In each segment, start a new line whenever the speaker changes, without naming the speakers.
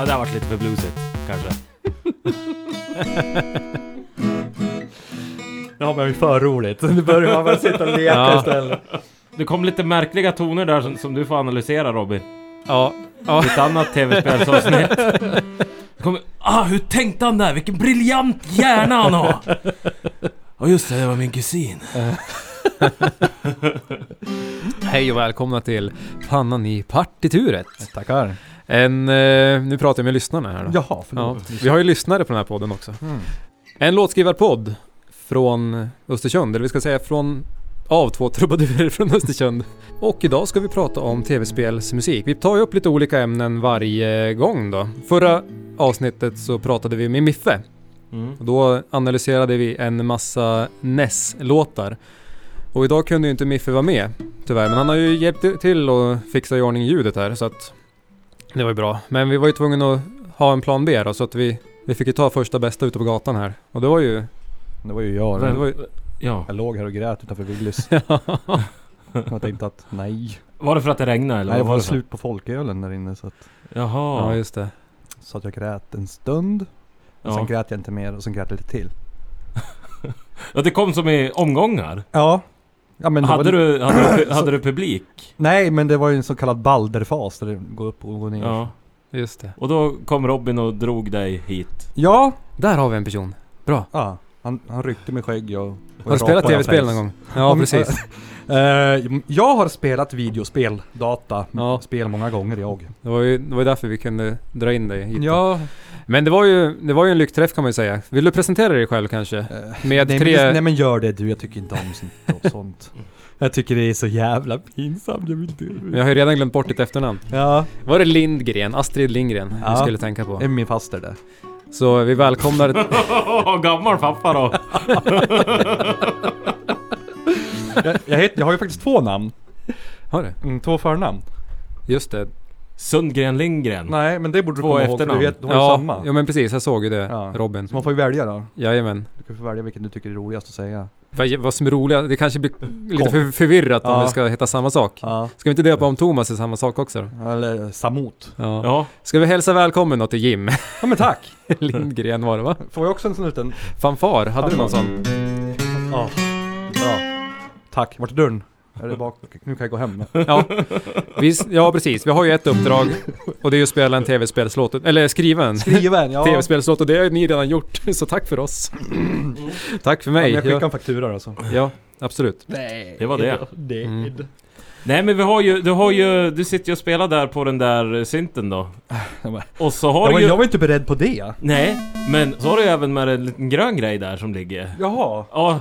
det där varit lite för bluesigt, kanske.
Det har man ju för roligt. Nu börjar man väl sitta och leka
Ja.
istället.
Det kom lite märkliga toner där som, som du får analysera Robin.
Ja.
I ett annat tv-spelsavsnitt. Det Kommer, ah, hur tänkte han där? Vilken briljant hjärna han har! Ja just det, det var min kusin.
Hej och välkomna till Pannan i partituret.
Tackar.
En, eh, nu pratar jag med lyssnarna här då.
Jaha,
Ja,
förlåt.
vi har ju lyssnare på den här podden också.
Mm.
En låtskrivarpodd från Östersund, eller vi ska säga från av två trubadurer från Östersund. Och idag ska vi prata om tv-spelsmusik. Vi tar ju upp lite olika ämnen varje gång då. Förra avsnittet så pratade vi med Miffe
Mm.
och Då analyserade vi en massa NES-låtar. Och idag kunde ju inte Miffe vara med, tyvärr. Men han har ju hjälpt till och fixa i ordning ljudet här, så att... Det var ju bra. Men vi var ju tvungna att ha en plan B då, så att vi... Vi fick ju ta första bästa ute på gatan här. Och det var ju...
Det var ju jag.
Det var ju
Ja.
Jag låg här och grät utanför Willys. Jag tänkte att nej.
Var det för att det regnade eller?
Nej, det
vad
var
för-
slut på folkölen där inne så att,
ja,
Jaha.
just det.
så att jag grät en stund. Och
Ja.
Sen grät jag inte mer och sen grät jag lite till.
Ja, det kom som i omgångar.
Ja. ja men det
hade,
var,
du, hade, du, hade du publik?
Nej men det var ju en så kallad balderfas där det går upp och går ner.
Ja.
Just det.
Och då kom Robin och drog dig hit.
Ja.
Där har vi en person. Bra.
ja. Han, han ryckte mig skägg och... och
Har du
jag
spelat
rapade
tv-spel någon
face.
gång? Ja,
Om-
precis.
Eh, jag har spelat videospel, data,
Ja.
spel många gånger jag.
Det var ju det var ju därför vi kunde dra in dig hit. då.
Ja,
Men det var ju, det var ju en lyckträff kan man ju säga. Vill du presentera dig själv kanske?
eh,
Med
nej,
tre...
men, nej men gör det du, jag tycker inte om sånt. sånt. Jag tycker det är så jävla pinsamt, jag vill
Men
inte.
jag har ju redan glömt bort ditt efternamn.
Ja,
Var det Lindgren? Astrid Lindgren
Ja.
vi skulle tänka
det är
på.
min faster det.
Så vi välkomnar...
Gammal pappa då.
Jag, jag, heter, jag har ju faktiskt två namn.
Har du?
Mm, två förnamn.
Just det.
Sundgren Lindgren.
Nej, men det borde du
Två
komma ihåg för du
efternamn.
vet, du har ju
Ja,
samma.
ja, men precis. Jag såg ju det.
Ja.
Robin.
Så man får ju välja då.
Jajamän.
Du kan få välja vilken du tycker är roligast att säga.
Vad, vad som är roligt, det kanske blir lite
Kom.
för, förvirrat om
Ja.
vi ska heta samma sak.
Ja.
Ska vi inte döpa om Thomas till samma sak också då?
Eller Samot.
Ja.
Ja.
Ska vi hälsa välkommen då till Jim?
Ja men tack!
Lindgren var det va?
Får jag också en sån liten...
Fanfar, hade du någon sån?
Ja. Bra. Tack. Vart är dörren? Är det bak? Nu kan jag gå hem.
Ja. Vi, s- ja, precis. Vi har ju ett uppdrag och det är ju att spela en tv-spelslåt, eller skriva en
Skriven, ja.
tv-spelslåt och det har ju ni redan gjort, så tack för oss. Tack för
Mm. Ja, men
mig.
jag skickar
Ja,
en faktura då alltså.
ja, absolut.
Nej.
Det var det.
det.
Mm.
Nej men vi har ju, du har ju, du sitter ju och spelar där på den där eh, synten då.
men-
Och så
Ja,
har
men
du ju...
jag var inte beredd på det.
Nej, men så har du ju även med en liten grön grej där som ligger.
Jaha.
Ja,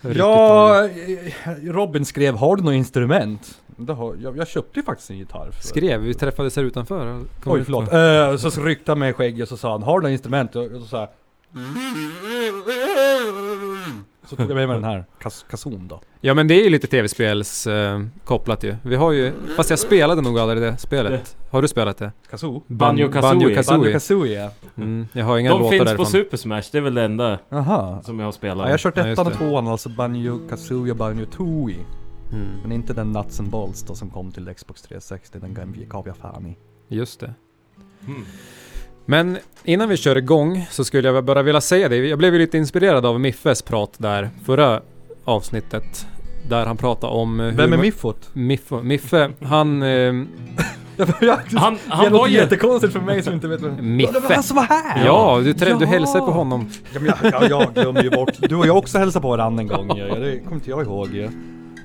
Riktigt dåligt.
Ja, eh, Robin skrev har du något instrument? Det har, jag, jag köpte ju faktiskt en gitarr. För.
Skrev, vi träffades här utanför. och kom
Oj
ut
förlåt.
och-
Eh, så ryckte han mig i skägget och så sa han har du något instrument? Och, och så sa jag, Så tog jag med mig den här. Kas, kason då.
Ja men det är ju lite tv-spels eh, kopplat ju. Vi har ju, fast jag spelade nog aldrig det spelet. Har du spelat det?
Kazoo?
Banjo-Kazooie.
Banjo Kazooie.
Banjo-Kazooie.
Mm, jag har inga
de
låtar
finns
därifrån.
på Super Smash, det är väl det enda
Jaha.
som jag har spelat.
Ja, jag har kört
Ja, just
ettan
det.
och tvåan alltså, Banjo-Kazooie och Banjo-Tooie.
mm,
Men inte den Nuts and Balls då som kom till Xbox 360, den gav- gav jag fan i.
just det.
Mm.
Men innan vi kör igång så skulle jag bara vilja säga det. Jag blev ju lite inspirerad av Miffes prat där förra avsnittet. Där han pratade om... eh, hur
Vem är
man-
Miffot?
Miffo, Miffe, han... Eh,
Han,
det
han var
låter
ju...
jättekonstigt för mig som inte vet vem...
Miffe.
Det var han som var alltså, här!
ja, du, trä- du
Ja.
hälsade på honom.
ja men jag, jag, jag glömmer ju bort. Du och jag också hälsade på varandra en gång ju. Ja, det kommer inte jag ihåg ju.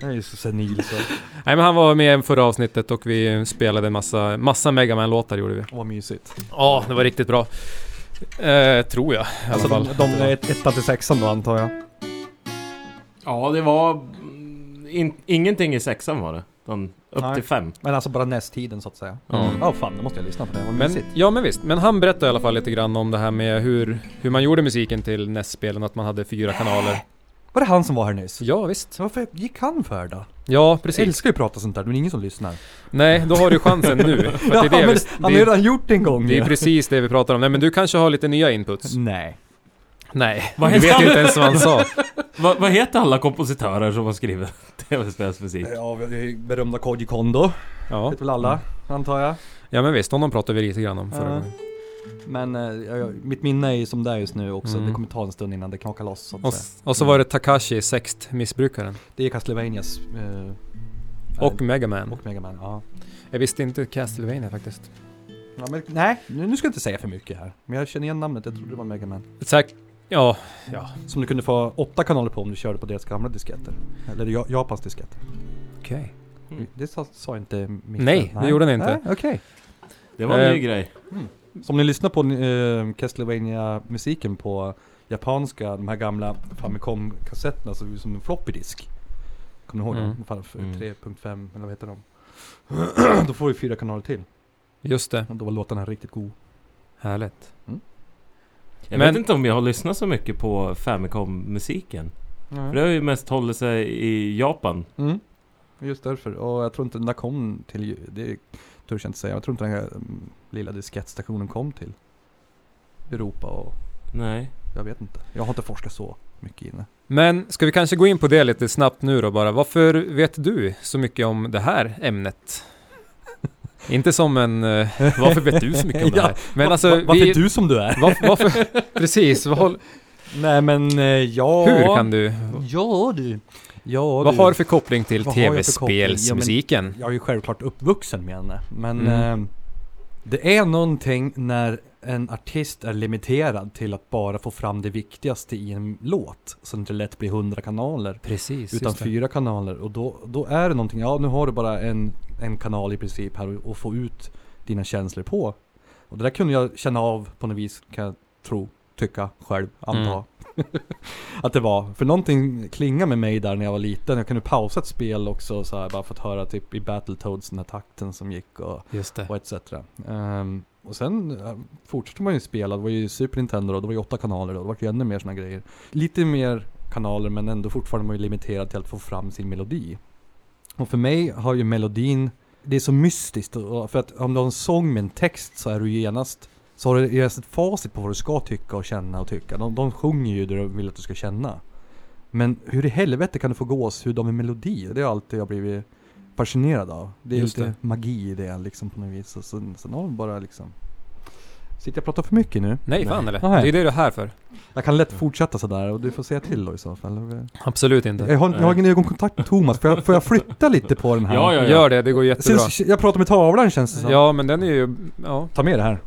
Jag är ju så senil så.
Nej men han var med i förra avsnittet och vi spelade en massa, massa Megaman-låtar gjorde vi.
Åh, Vad mysigt.
Ja, det var riktigt bra. Eh, tror jag i alla
Alltså de,
fall.
de är ett- ettan till sexan då antar jag.
Ja, det var... mm, In, ingenting i sexan var det. Utan upp
Nej.
till fem.
Men alltså bara nästtiden så att säga.
Ja.
Mm.
Ja fan, då måste jag lyssna på det. Vad
Men,
mysigt.
ja men visst, men han berättade i alla fall lite grann om det här med hur, hur man gjorde musiken till NES-spelen, att man hade fyra kanaler.
Var det han som var här nyss?
Ja visst.
Så varför gick han för då?
Ja
Jag
precis.
älskar ju att prata sånt där, men det är ingen som lyssnar.
Nej, då har du chansen nu. För att det, är det,
men
vi,
han har
det,
ju
är,
redan gjort det en gång
det är
ju.
precis det vi pratar om. Nej men du kanske har lite nya inputs?
Nej.
Nej,
Vad
du
heter
vet
han?
ju inte ens vad han sa.
Va, vad heter alla kompositörer som har skrivit tv-spelsmusik?
Ja, vi har ju berömda Koji Kondo.
Ja. Mm.
Vet väl alla, antar jag.
Ja men visst, honom pratade vi lite grann om förra
Ja.
gången.
Men eh, jag, mitt minne är ju som det är just nu också.
Mm.
Det kommer ta en stund innan det knakar loss. Så att
Och,
säga.
s- och så var det Takashi, sextmissbrukaren.
Det är Castlevanias... Eh,
Och
eh,
Megaman.
och Megaman, ja.
Jag visste inte Castlevania faktiskt.
ja men, nej, nu nu ska jag inte säga för mycket här. Men jag känner igen namnet, jag trodde det var Megaman.
Säk- ja,
Som du kunde få åtta kanaler på om du körde på deras gamla disketter. Eller Ja- Japans disketter.
okej.
Det sa, sa inte Micke.
Mm. Nej, det gjorde den inte.
Nej, okej.
Det var en
Eh,
ny grej.
Som ni lyssnar på eh, castlevania musiken på japanska, de här gamla Famicom-kassetterna som som en floppy disk. Kommer ni ihåg
Mm.
dem? Fan, för
Mm.
3.5 eller vad heter de? Då får vi fyra kanaler till.
Just det.
Och Då var låtarna riktigt god.
Härligt.
Jag
men-
vet inte om jag har lyssnat så mycket på Famicom-musiken. För det har ju mest hållit sig i Japan.
Mm. Just därför. Och jag tror inte den där kom till... ju- Det törs jag inte säga. Jag tror inte den här mm, lilla diskettstationen kom till Europa och...
Nej.
Jag vet inte. Jag har inte forskat så mycket inne.
Men ska vi kanske gå in på det lite snabbt nu då bara. Varför vet du så mycket om det här ämnet? inte som en... eh, varför vet du så mycket om det här? Men alltså,
Va- varför
vi,
är du som du är?
varför, varför, precis, vad,
Nej men eh, ja...
hur kan du?
Ja du. Ja
Vad
du.
har du för koppling till
Vad har jag för koppling? Ja, men-
tv-spelsmusiken?
Jag är ju självklart uppvuxen med henne. Men
Mm.
eh, det är någonting när en artist är limiterad till att bara få fram det viktigaste i en låt. Så det inte lätt blir hundra kanaler.
Precis,
Utan
just det.
fyra kanaler och då, då är det någonting, ja nu har du bara en, en kanal i princip här och, och få ut dina känslor på. Och det där kunde jag känna av på något vis kan jag tro, tycka, själv, anta.
Mm.
att det var, för någonting klingade med mig där när jag var liten. Jag kunde pausa ett spel också så här, bara för att höra typ i Battletoads den här takten som gick och
Just det.
och etc. Ehm, och sen eh, fortsatte man ju spela, det var ju Super Nintendo då, det var ju åtta kanaler då, det var ju ännu mer såna grejer. Lite mer kanaler men ändå fortfarande man ju limiterad till att få fram sin melodi. Och för mig har ju melodin, det är så mystiskt, och- och för att om du har en sång med en text så är du ju genast så har du genast ett facit på vad du ska tycka och känna och tycka. De, de sjunger ju det de vill att du ska känna. Men hur i helvete kan du få gåshud av en melodi? Det är alltid jag blivit fascinerad av. Det är
Just
lite magi i det liksom på något vis. Och sen, sen har de bara liksom... Sitter jag och pratar för mycket nu?
Nej, fan eller?
Nej.
Det är det du är här för.
Jag kan lätt fortsätta sådär och du får säga till då i så fall.
Absolut inte.
Jag har, jag har ingen ögonkontakt med Thomas, får jag, får jag flytta lite på den här?
Ja, ja, ja.
Gör det, det går
Sen,
jättebra.
jag pratar med tavlan känns det som.
Ja, men den är ju... Ja.
Ta med det här.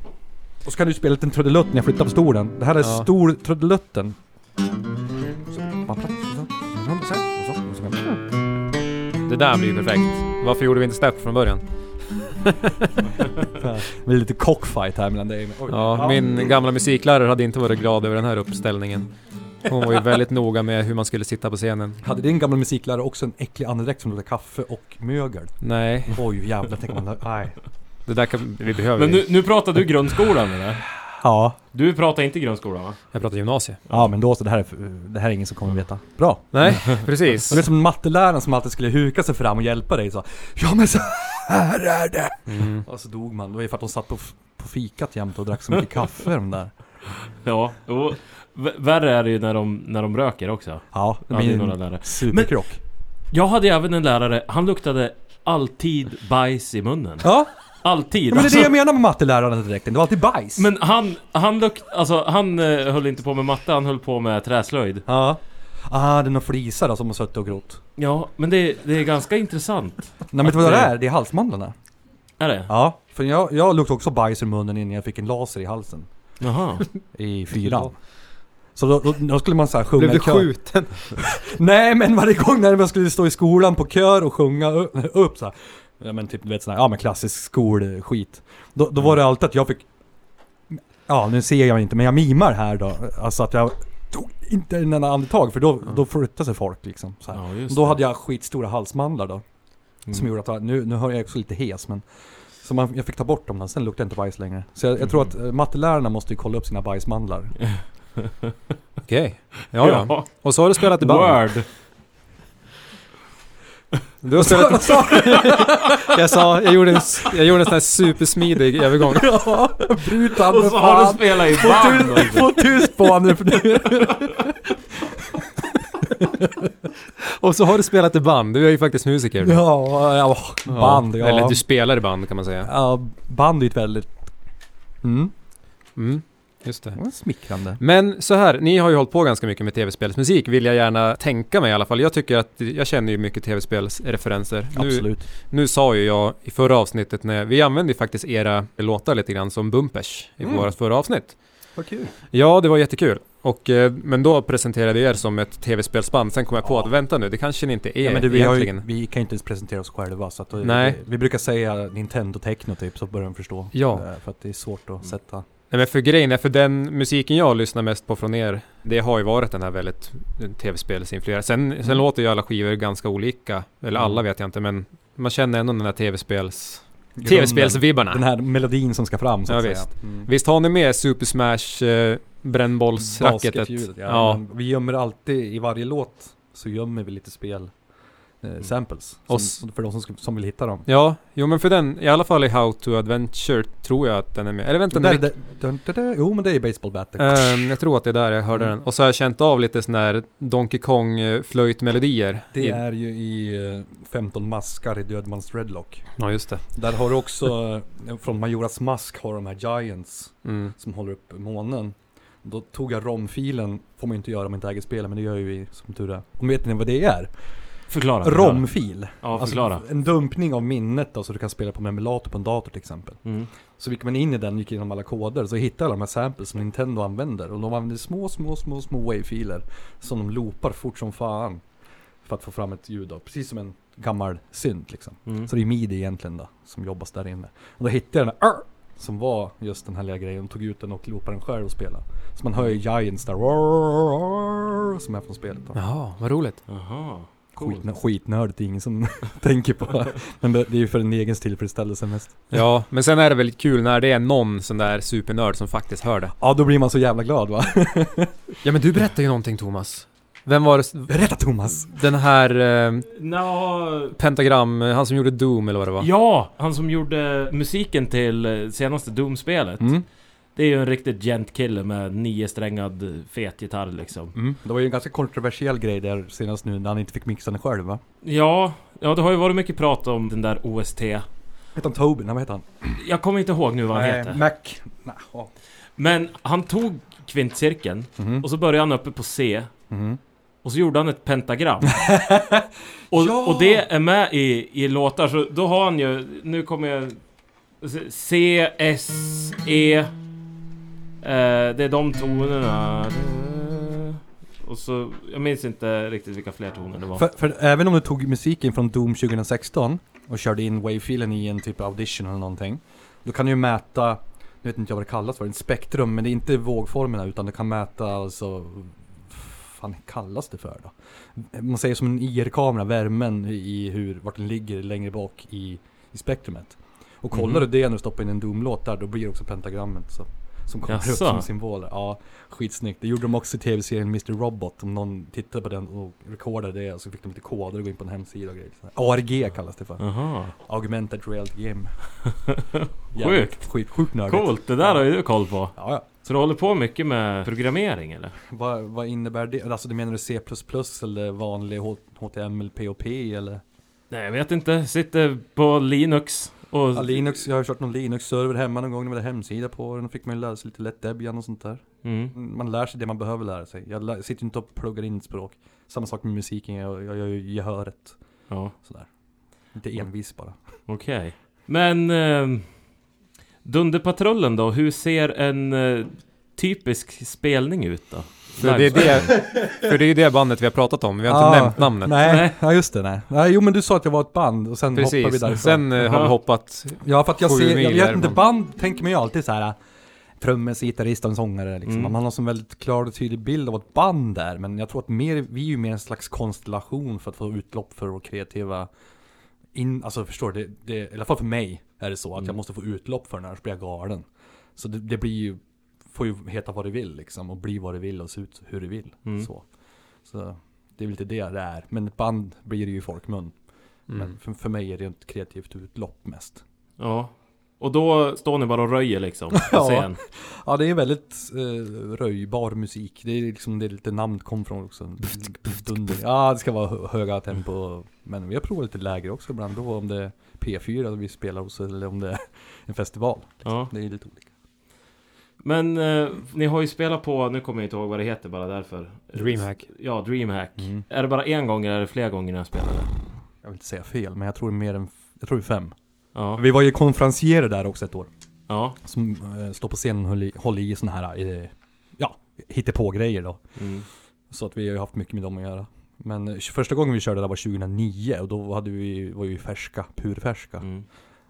Och så kan du spela en liten trudelutt när jag flyttar på stolen. Det här är
Ja.
stor trudelutten.
Mm. Det där blir ju perfekt. Varför gjorde vi inte Step från början?
Det blir lite cockfight här mellan dig och mig. Oj.
Ja, min gamla musiklärare hade inte varit glad över den här uppställningen. Hon var ju väldigt noga med hur man skulle sitta på scenen.
Hade din gamla musiklärare också en äcklig andedräkt som luktade kaffe och mögel?
Nej,
Oj jävlar tänker man. Nej.
det där kan vi behöver
Men
vi.
nu, nu pratar du grundskolan eller?
Ja.
Du pratar inte grundskolan va?
Jag pratar gymnasiet.
Ja men då så, det här är, för- det här är ingen som kommer veta. Bra.
Nej,
Det är
precis.
som matteläraren som alltid skulle huka sig fram och hjälpa dig så. Ja men så här är det.
Mm.
Och så dog man. Det var ju för att de satt på, f- på fikat jämt och drack så mycket kaffe de där.
Ja. Och v- värre är det ju när de, när de röker också.
Ja,
Ja, det är några lärare.
superkrock.
Jag hade även en lärare, han luktade alltid bajs i munnen.
Ja,
Alltid!
men det är
alltså.
det jag menar med matteläraren direkt. Det var alltid bajs.
Men han, han lukt, alltså han eh, höll inte på med matte, han höll på med träslöjd.
Ja. Ah, det är någon flisa då som har suttit och grott.
Ja, men det, det är ganska intressant.
Nej men vet du vad det är? Det är halsmandlarna.
Är det?
Ja, för jag, jag luktade också bajs i munnen innan jag fick en laser i halsen.
Jaha.
I fyran. Så då, då, då skulle man så här sjunga
Blev du
i kör.
skjuten?
Nej men varje gång när man skulle stå i skolan på kör och sjunga u- upp så här. Ja men typ du vet sån här, ja men klassisk skolskit. Då, då
Mm.
var det alltid att jag fick, ja nu ser jag inte men jag mimar här då. Alltså att jag tog inte en enda andetag för då, då flyttade sig folk liksom. Så här.
Mm. Ja, just
Då
det.
hade jag skitstora halsmandlar då. Som
Mm.
gjorde att, jag- nu, nu hör jag också lite hes men. Så man, jag fick ta bort dem då, sen luktade jag inte bajs längre. Så jag, jag
Mm.
tror att eh, mattelärarna måste ju kolla upp sina bajsmandlar.
Okej. Ja, ja.
Ja,
Och så har du spelat i band.
word.
Du har spelat... Jag sa, jag gjorde en, s- jag gjorde en sån här supersmidig övergång.
Ja, brutande
Och så har du spelat i band också.
Få tyst på honom nu för nu.
Och så har du spelat i band, du är ju faktiskt musiker.
Ja, ja, åh, band. Ja,
Eller du spelar i band kan man säga.
ja, band är ju ett väldigt... Mm.
Mm, just det.
det var Smickrande.
Men så här, ni har ju hållit på ganska mycket med tv-spelsmusik vill jag gärna tänka mig i alla fall. Jag tycker att, jag känner ju mycket tv-spelsreferenser. Nu,
Absolut.
nu sa ju jag i förra avsnittet, när, vi använde ju faktiskt era låtar lite grann som bumpers i
Mm.
vårat förra avsnitt.
Vad kul.
Ja, det var jättekul. Och, eh, men då presenterade jag er som ett tv-spelsband, sen kom jag på
Ja.
att vänta nu, det kanske ni inte är
Ja, men du, vi, har
egentligen.
ju, vi kan ju inte ens presentera oss själva så att då-
Nej.
Vi, vi brukar säga Nintendo Techno typ så börjar de förstå.
Ja.
Eh, För att det är svårt att sätta.
Nej men för grejen är, för den musiken jag lyssnar mest på från er, det har ju varit den här väldigt eh, tv-spelsinfluerad. Sen, sen
Mm.
låter ju alla skivor ganska olika, eller
Mm.
alla vet jag inte, men man känner ändå den här tv-spels...
grunden.
Mm. Tv-spelsvibbarna.
Den här melodin som ska fram så
Ja,
att säga.
visst.
Mm.
Visst har ni med Super Smash, eh, brännbollsracketet?
Basketljudet, Ja,
Ja.
Men Vi gömmer alltid, i varje låt så gömmer vi lite spel. Eh, samples.
Mm. Och
Som, för de som, ska- som vill hitta dem.
Ja, jo men för den, i alla fall i How to Adventure tror jag att den är med. Eller vänta,
Där-
nu,
där- dun, dun, dun. Jo men det är baseball battle.
Ehm, jag tror att det är där jag hörde
Mm.
den. Och så har jag känt av lite sån här Donkey Kong eh, flöjtmelodier.
det
i-
är ju i eh, 15 maskar i Dödmans Redlock.
Ja, just det.
Där har du också, eh, från Majoras mask har de här Giants.
Mm.
som håller upp månen. Då tog jag romfilen, får man ju inte göra om man inte äger spelet, men det gör ju vi som tur är. Och vet ni vad det är?
Förklara. förklara.
Romfil!
Ja,
Alltså,
förklara.
en dumpning av minnet då, så du kan spela på en emulator på en dator till exempel.
Mm.
Så gick man in i den, gick igenom alla koder, så hittade alla de här samples som Nintendo använder. Och de använder små, små, små, små wavefiler som de loopar fort som fan. För att få fram ett ljud då, precis som en gammal synt liksom.
Mm.
Så det är midi egentligen då, som jobbas där inne. Och då hittade jag den här "Arr!" som var just den här lilla grejen. Tog ut den och loopade den själv och spelade. Så man hör ju Giants där, "Arr!" som är från spelet då.
Jaha, vad roligt.
Jaha. Coolt.
Skitnö- Skitnördigt, det är ingen som tänker på det. Men det det är ju för den egen tillfredsställelse mest.
Ja, men sen är det väldigt kul när det är någon sån där supernörd som faktiskt hör det.
Ja, då blir man så jävla glad va?
Ja, men du berättade ju någonting Thomas. Vem var det?
Berätta Thomas!
Den här eh,
Nå,
pentagram, eh, han som gjorde Doom eller vad det var?
Ja, han som gjorde musiken till eh, senaste Doom-spelet.
Mm.
Det är ju en riktigt gent kille med niosträngad eh, fet gitarr liksom.
Mm. Det var ju en ganska kontroversiell grej där senast nu när han inte fick mixa den själv va?
Ja, ja, det har ju varit mycket prat om den där OST.
Hette han Tobin? Nej, Vad hette han?
Jag kommer inte ihåg nu vad han heter.
Mac. Nah, ja.
Men han tog kvintcirkeln
Mhm.
och så började han uppe på C.
Mhm.
Och så gjorde han ett pentagram. och,
Ja!
och det är med i, i låtar, så då har han ju... Nu kommer jag... C, S, E... Eh, det är de tonerna. Och så... Jag minns inte riktigt vilka fler toner det var.
För, för även om du tog musiken från Doom 2016 och körde in wavefilen i en typ av audition eller någonting. Då kan du ju mäta, nu vet inte jag vad det kallas för, en spektrum. Men det är inte vågformerna utan du kan mäta alltså, vad fan kallas det för då? Man säger som en IR-kamera, värmen i hur, vart den ligger längre bak i, i spektrumet. Och
Mhm.
kollar du det när du stoppar in en Doom-låt där, då blir det också pentagrammet så, som kommer upp
Jaså?
som symboler. Ja, skitsnyggt. Det gjorde de också i tv-serien Mr. Robot. Om någon tittade på den och recordade det så fick de lite koder och gå in på en hemsida och grejer. Så här. ARG kallas det för.
Jaha.
Augmented Reality Game.
Sjukt.
Skit, sjukt nördigt.
Coolt, det där har ju du koll på.
Ja, ja.
Så du håller på mycket med programmering eller?
Vad, vad innebär det? Alltså du menar du C++ eller vanlig H- HTML, POP eller?
Nej, jag vet inte. Sitter på Linux och...
Ja, Linux, jag har kört någon Linux-server hemma någon gång, när det var hemsida på den. Då fick man ju lära sig lite lätt Debian och sånt där.
Mm.
Man lär sig det man behöver lära sig. Jag lär, sitter ju inte och pluggar in språk. Samma sak med musiken, jag, jag gör ju gehöret.
Ja.
Sådär. Lite envis bara.
Okej. Men... Eh, Dunderpatrullen då? Hur ser en eh, typisk spelning ut då?
För det, är det, för det är ju det bandet vi har pratat om, vi har inte
Ah,
nämnt namnet.
Nej,
Nej.
ja, just det. Nej. nej. Jo men du sa att jag var ett band och sen hoppar vi
Precis,
därifrån.
sen eh, har vi
Aha.
hoppat.
ja för att jag
sju
ser, jag
mil
vet inte,
därifrån.
band tänker man ju alltid så här. Trummis, gitarrist och en sångare liksom.
Mm.
Man har som väldigt klar och tydlig bild av vad ett band är. Men jag tror att mer, vi är ju mer en slags konstellation för att få utlopp för vår kreativa... In, alltså förstår du, det, det, i alla fall för mig är det så att jag
Mm.
måste få utlopp för den annars blir jag galen. Så det, det blir ju, får ju heta vad det vill liksom och bli vad det vill och se ut hur det vill.
Mm.
Så. så det är väl lite det det är. Men ett band blir det ju i folkmun.
Mm.
Men för, för mig är det ett kreativt utlopp mest.
Ja. Och då står ni bara och röjer liksom på
Ja.
scen.
Ja, det är väldigt eh, röjbar musik. Det är liksom det lite namnet kom från också. Dunder. Ja, det ska vara hö- höga tempo. Men vi har provat lite lägre också ibland. Då om det är P4 vi spelar hos eller om det är en festival.
Ja.
Det är lite olika.
Men eh, ni har ju spelat på, nu kommer jag inte ihåg vad det heter bara därför.
Dreamhack.
Ja, Dreamhack. Är det bara en gång eller är det flera gånger ni har spelat det?
Jag vill inte säga fel, men jag tror det är mer än f- jag tror det är fem.
Ja.
Vi var ju konferencierer där också ett år.
Ja.
Som eh, står på scenen och höll i, håller i sådana här, eh, ja, hittepå-grejer då.
Mm.
Så att vi har ju haft mycket med dem att göra. Men eh, första gången vi körde där var 2009 och då hade vi, var ju färska, purfärska.
Mm.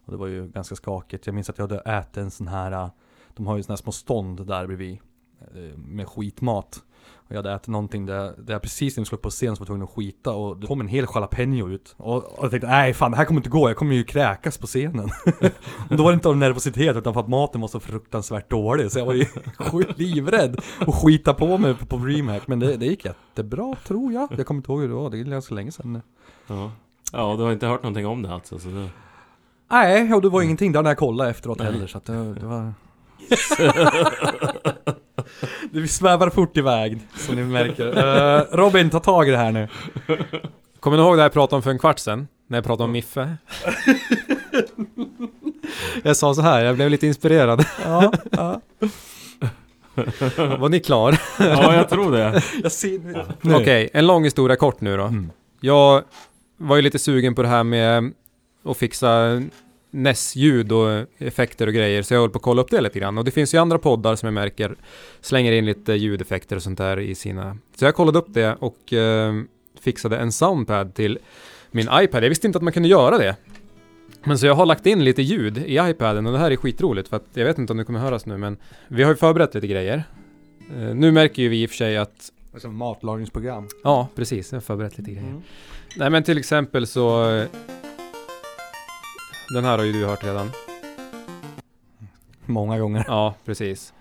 Och det var ju ganska skakigt. Jag minns att jag hade ätit en sån här, eh, de har ju såna här små stånd där bredvid. eh, Med skitmat. Och jag hade ätit någonting där, där jag precis när vi skulle upp på scen så var jag tvungen att skita och det kom en hel jalapeno ut. Och, och jag tänkte, nej fan det här kommer inte gå, jag kommer ju kräkas på scenen. och då var det inte av nervositet utan för att maten var så fruktansvärt dålig. Så jag var ju livrädd och skita på mig på, på Dreamhack. Men det, det gick jättebra tror jag. Jag kommer inte ihåg hur det var, det är ganska länge sedan.
Ja. Ja, du har inte hört någonting om det alltså? Så det...
Nej, och det var ingenting där när jag kollade efteråt heller så att det, det var... det svävar fort iväg, som ni märker. Eh, Robin, ta tag i det här nu.
Kommer ni ihåg det jag pratade om för en kvart sedan? När jag pratade om Miffe? jag sa så här, jag blev lite inspirerad.
Ja, ja.
Var ni klar?
Ja, jag tror det.
Jag ser nu.
Okej, en lång historia kort nu då.
Mm.
Jag var ju lite sugen på det här med att fixa NES-ljud och effekter och grejer, så jag höll på att kolla upp det lite grann. Och det finns ju andra poddar som jag märker slänger in lite ljudeffekter och sånt där i sina... Så jag kollade upp det och eh, fixade en soundpad till min iPad. Jag visste inte att man kunde göra det. Men så jag har lagt in lite ljud i iPaden och det här är skitroligt för att jag vet inte om det kommer höras nu men vi har ju förberett lite grejer. Eh, nu märker ju vi i och för sig att,
Alltså matlagningsprogram.
ja precis, jag har förberett lite grejer. Nej men till exempel så... eh, Den här har ju du hört redan.
Många gånger.
Ja, precis.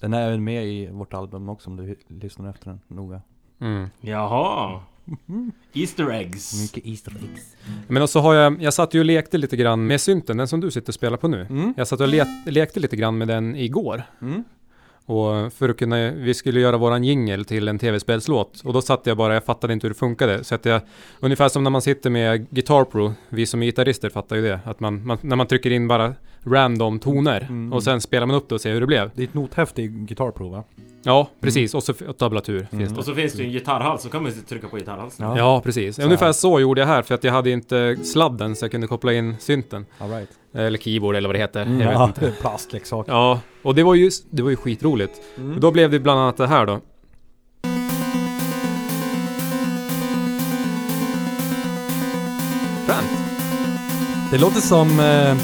Den är även med i vårt album också om du lyssnar efter den noga.
Mm.
Jaha.
Mm.
Easter eggs.
Mycket Easter eggs.
Men och så har jag, jag satt ju och lekte lite grann med synten, den som du sitter och spelar på nu.
Mm.
Jag satt och le- lekte lite grann med den igår.
Mm.
Och för att kunna, vi skulle göra våran jingle till en tv-spelslåt. Och då satt jag bara, jag fattade inte hur det funkade. Så att jag, ungefär som när man sitter med Guitar Pro, vi som är gitarrister fattar ju det. Att man, man när man trycker in bara random toner
Mm.
och sen spelar man upp det och ser hur det blev.
Ditt nothäfte är gitarrprov va?
Ja, precis. Och så f- och tablatur finns
Mm.
det.
Och så finns det ju en gitarrhals, så kan man ju trycka på gitarrhalsen.
Ja.
Ja, precis.
Så här.
Ungefär så gjorde jag här för att jag hade inte sladden så jag kunde koppla in synten.
Alright.
Eller keyboard eller vad det heter. Jag vet
Mm, Ja,
inte.
plastleksaker.
Ja, och det var ju, det var ju skitroligt.
Mm.
Då blev det bland annat det här då. Fränt.
Det låter som... Eh...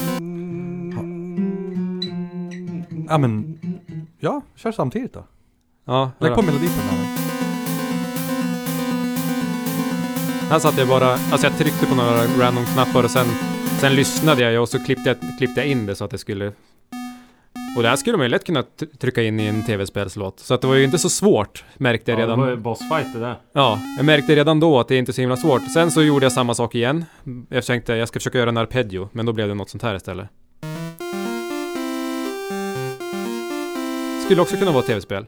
Ja men... Ja, kör samtidigt då.
Ja,
Lägg
hörru.
på melodin på den här.
här satt jag bara, alltså jag tryckte på några random knappar och sen, sen lyssnade jag ju och så klippte jag, klippte jag in det så att det skulle... Och det här skulle man ju lätt kunna t- trycka in i en tv-spelslåt. Så att det var ju inte så svårt, märkte jag
Ja,
redan.
det var ju bossfight det där.
Ja, jag märkte redan då att det inte är så himla svårt. Sen så gjorde jag samma sak igen. Jag tänkte jag ska försöka göra en arpeggio, men då blev det något sånt här istället. Skulle också kunna vara ett tv-spel.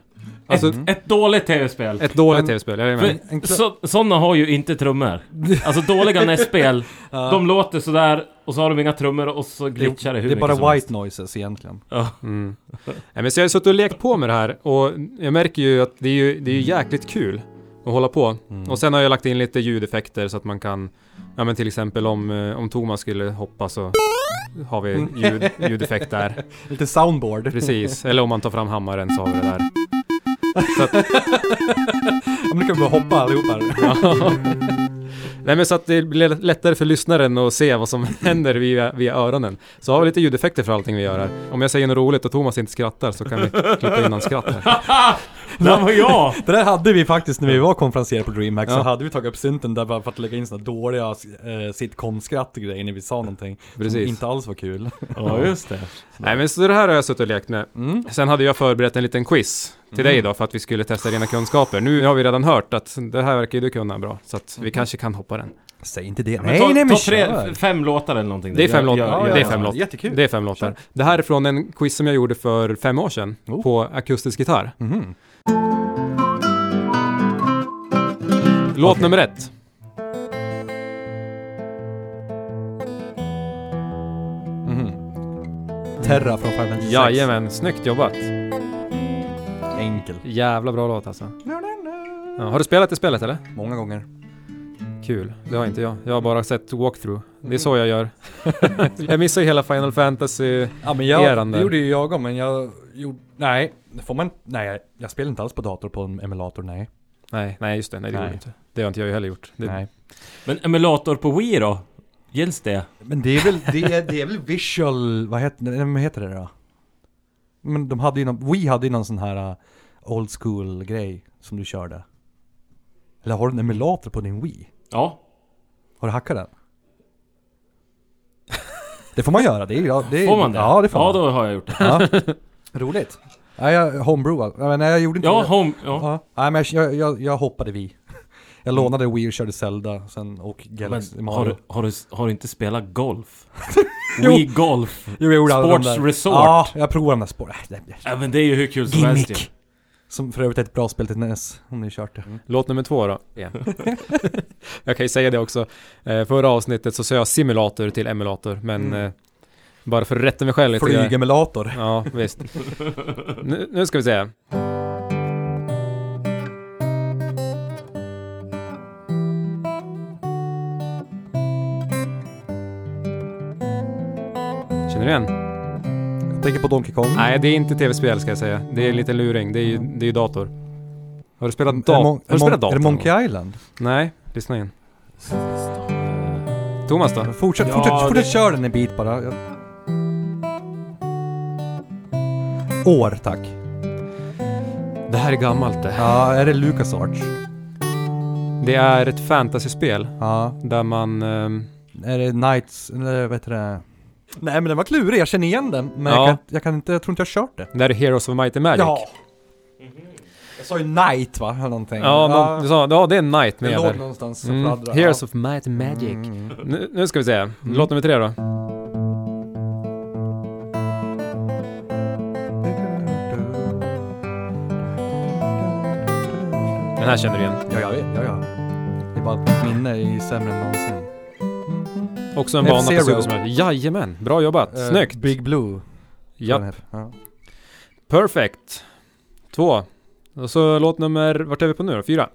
Alltså,
ett, ett dåligt tv-spel.
ett dåligt
Mm. Men-
tv-spel, jag är med.
En
För,
kla-
så, sådana har ju inte trummor. Alltså dåliga NES-spel, de låter sådär och så har de inga trummor och så glitchar det hur
Det är
mycket som
bara
helst.
white noises egentligen.
Ja.
Mm. Nej, men så jag har suttit och lekt på med det här och jag märker ju att det är ju, det är ju jäkligt kul att hålla på. Och sen har jag lagt in lite ljudeffekter så att man kan, ja men till exempel om, eh, om Thomas skulle hoppa så har vi
Mm.
ljud, ljudeffekt där.
Lite soundboard.
Precis, eller om man tar fram hammaren så har vi det där. Så att,
Ja, men nu kan vi bara hoppa allihopa här.
ja. Nej men så att det blir lättare för lyssnaren att se vad som händer via, via öronen. Så har vi lite ljudeffekter för allting vi gör här. Om jag säger något roligt och Thomas inte skrattar så kan vi klippa in hans skratt här.
Där var jag!
Det där hade vi faktiskt när vi var konferenser på DreamHack så
Ja.
hade vi tagit upp synten där bara för att lägga in sådana dåliga eh, sitcom-skratt och grejer när vi sa någonting. Som
Precis.
inte alls var kul.
Ja, just det.
Nej men så det här har jag suttit och lekt med.
Mm.
Sen hade jag förberett en liten quiz till dig då för att vi
Mm.
skulle testa dina kunskaper. Nu har vi redan hört att det här verkar ju du kunna bra så att vi kanske kan hoppa den.
Säg inte det.
Men ta, ta tre, fem låtar eller någonting.
Det är fem låtar.
Ja, ja,
det är
ja.
fem låtar.
Jättekul.
Det är fem låtar.
Kör.
Det här är från en quiz som jag gjorde för fem år sedan
Oh.
på akustisk gitarr.
Mhm.
Låt
Okej.
nummer ett.
Mhm. Terra från Final Fantasy
Jajamän, snyggt jobbat.
Enkel.
Jävla bra låt alltså. Ja, har du spelat det spelet eller?
Många gånger.
Kul. Det har inte jag. Jag har bara sett walkthrough. Det är så jag gör. jag missar ju hela Final Fantasy.
Ja men
jag-
jag,
Eran
det
där.
gjorde ju jag om, men jag gjorde, nej, det får man, nej jag spelar inte alls på dator på en emulator, nej.
Nej, nej just det. Nej, det
Nej.
gjorde jag inte. Det har inte jag heller gjort. Det,
nej.
Men emulator på Wii då? Gills det?
Men det är väl, det är, det är väl visual, vad heter, nej, men vad heter det då? Men de hade ju någon, we hade ju någon sån här uh, old school grej som du körde. Eller har du en emulator på din Wii?
Ja.
Har du hackat den? Det får man göra, det är ju... ja, Det är,
Får man det?
Ja, det får
Ja,
man.
då har jag gjort det.
Ja. Roligt. Nej, jag homebrewade. Nej, men Nej, jag gjorde inte
Ja,
det.
home, ja. Mm.
Ja. Nej, men jag, jag, jag hoppade vi. Jag lånade Wii och körde Zelda sen och Galaxy
Men har,
Mario.
du, har, du, har du inte spelat golf? Wii Golf?
Jo, jag gjorde alla de
Sports
där.
Resort?
Ja, jag provade de där sport... äh, det- det-
Ja, men det är ju hur kul som helst ju.
Gimmick! Som för övrigt är ett bra spel till NES, om ni kört det.
Mm.
Låt nummer två då. jag kan ju säga det också. Eh, förra avsnittet så sa jag simulator till emulator, men
Mm.
eh, bara för att rätta mig själv lite. grann.
Flygemulator.
Ja, visst. nu, nu ska vi se. Känner du igen?
Jag tänker på Donkey Kong.
Nej, det är inte tv-spel ska jag säga. Det är lite luring. Det är ju, det är ju dator. Har du
Är det
spelat,
Mon-
da-
är det
har du spelat
Mon-
dator?
Är det
någon
Monkey Island?
gång? Nej, lyssna in. Thomas då?
Fortsätt,
Ja,
fortsätt, fortsätt
det-
köra den en bit bara. Jag... År, tack.
Det här är gammalt det.
Ja, är det Lucas Arch?
Det är ett fantasyspel
Ja.
där man... ehm,
Är det Knights, eller vad heter det? Nej men den var klurig, jag känner igen den. Men
Ja.
jag, kan, jag kan inte, jag tror inte jag har kört det.
där är Heroes of Might and Magic.
Ja! Jag sa ju Knight va, eller någonting.
Ja, någon, du sa, ja det är en Knight
det
med
låg
där.
någonstans och
Mm.
fladdrade.
Heroes of Might and
Ja.
Magic.
Mm.
Nu, nu ska vi se. Låt nummer tre då. Den här känner du igen.
Ja, jag vet, ja, ja. Det är bara att mitt minne är sämre än någonsin.
Också en
F-Zero.
bana på Super Smash. Jajamän, bra jobbat.
Eh,
Snyggt.
Big Blue. tror jag den
Ja,
heter. Ja.
perfect. Två. Och så låt nummer, vart är vi på nu då? Fyra?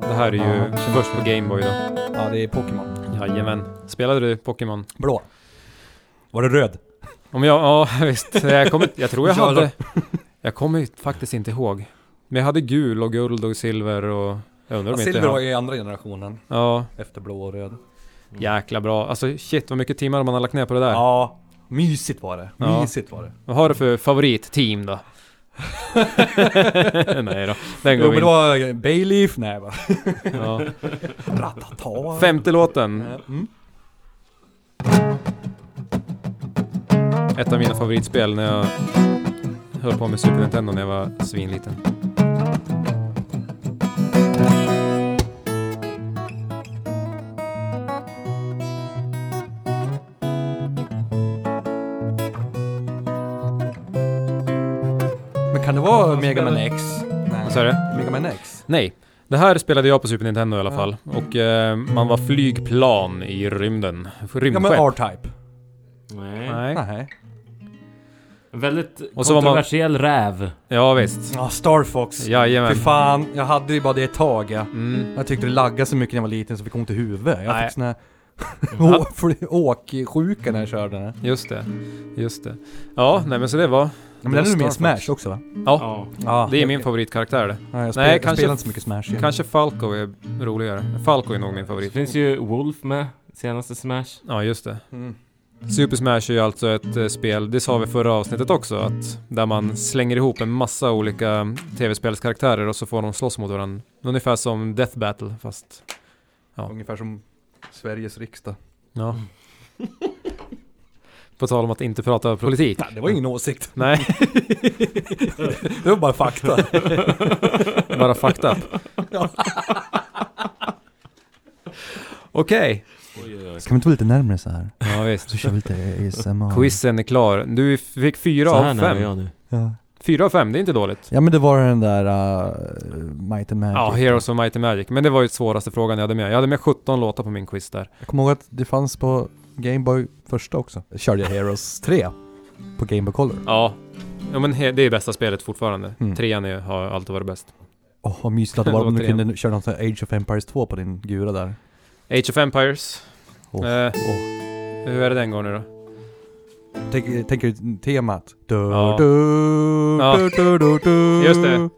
Det här är ju
Ja, känner
först på
jag.
Gameboy då.
Ja, det är Pokémon.
Jajamän. Spelade du Pokémon?
Blå. Var det röd?
Om jag, ja visst. Jag, kommer, jag tror jag
Ja,
hade... Jag kommer ju faktiskt inte ihåg. Men jag hade gul och guld och silver och... Jag undrar om inte
Silver var
jag...
ju i andra generationen.
Ja,
Efter blå och röd.
jäkla bra. Alltså shit vad mycket timmar man har lagt ner på det där.
Ja. Mysigt var det.
Ja.
Mysigt var det.
Vad har du för favoritteam då? Nej då, den
Jo
går
men
vi
det var eh, Bayleaf, nej va?
in. Ja.
Ratata.
Femte låten,
Mm.
ett av mina favoritspel när jag höll på med Super Nintendo när jag var svinliten.
Men kan det vara Mega Man X?
Vad sa
Nej.
du?
Mega Man X?
Nej. Det här spelade jag på Super Nintendo i alla fall. Och eh, man var flygplan i rymden.
Ja men
Rymdskepp.
R-Type.
Nej.
Nej.
Nej.
En väldigt
Och så var man-
kontroversiell räv.
Ja visst.
Ja, Star Fox. Fy
Jajamän.
fan, jag hade ju bara det ett tag ja.
Mm.
Jag tyckte det laggade så mycket när jag var liten så fick ont i huvudet.
Nej.
Jag
Mm.
fick sån här å- fly- åksjuka när jag körde den. här.
Just det. Just det. Ja, nej men så Mm. det var...
Men den är ju med i
Star Fox.
Smash också va?
Ja.
Ja.
Det är min favoritkaraktär det.
Nej, jag, spel,
Nej,
jag
kanske-
spelar inte så mycket Smash. igen.
Kanske Falco är roligare. Falco är nog min
Det
favorit.
finns ju Wolf med, senaste Smash.
Ja, just det.
Mm.
Super Smash är ju alltså ett eh, spel, det sa vi förra avsnittet också, att där man slänger ihop en massa olika tv-spelskaraktärer och så får de slåss mot varandra. Ungefär som Death Battle, fast... Ja.
Mm. Ungefär som Sveriges riksdag.
Ja. På tal om att inte prata politik.
Nej, det var ingen åsikt.
Nej,
Det var bara fakta.
bara fakta.
Ja.
Okej.
Oj, oj, oj.
Ska vi inte vara lite närmare så här?
Ja visst.
Så kör vi lite ASMR.
Quizen är klar. Du fick fyra
Så här
av
nära
fem.
jag nu.
Ja.
Fyra av fem, det är inte dåligt.
ja men det var den där uh, Might and Magic.
Ja, Heroes of Might and Magic. Men det var ju svåraste frågan jag hade med. Jag hade med 17 låtar på min quiz där.
Jag
Kom ihåg att det fanns på Gameboy första också. Körde jag Heroes 3 på Gameboy Color.
Ja. Ja men he- det är bästa spelet fortfarande.
Mm.
Trean är, har alltid varit bäst.
Åh, vad mysigt att det var om du
Återigen.
kunde köra något sånt här Age of Empires 2 på din gura där.
Age of Empires.
Åh.
Eh,
Åh.
Hur är det den går nu då?
Tänk, tänker du temat? Du,
Ja.
du,
Ja.
du, du, du, du.
Just det.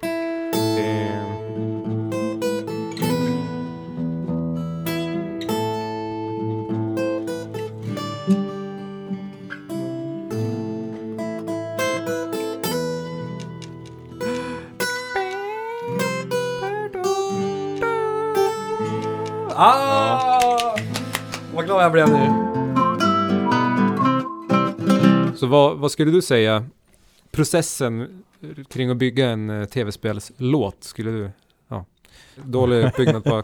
Ah! Vad glad jag blev nu.
Så vad, vad skulle du säga? Processen kring att bygga en eh, tv-spelslåt skulle du... Ja. Dålig uppbyggnad på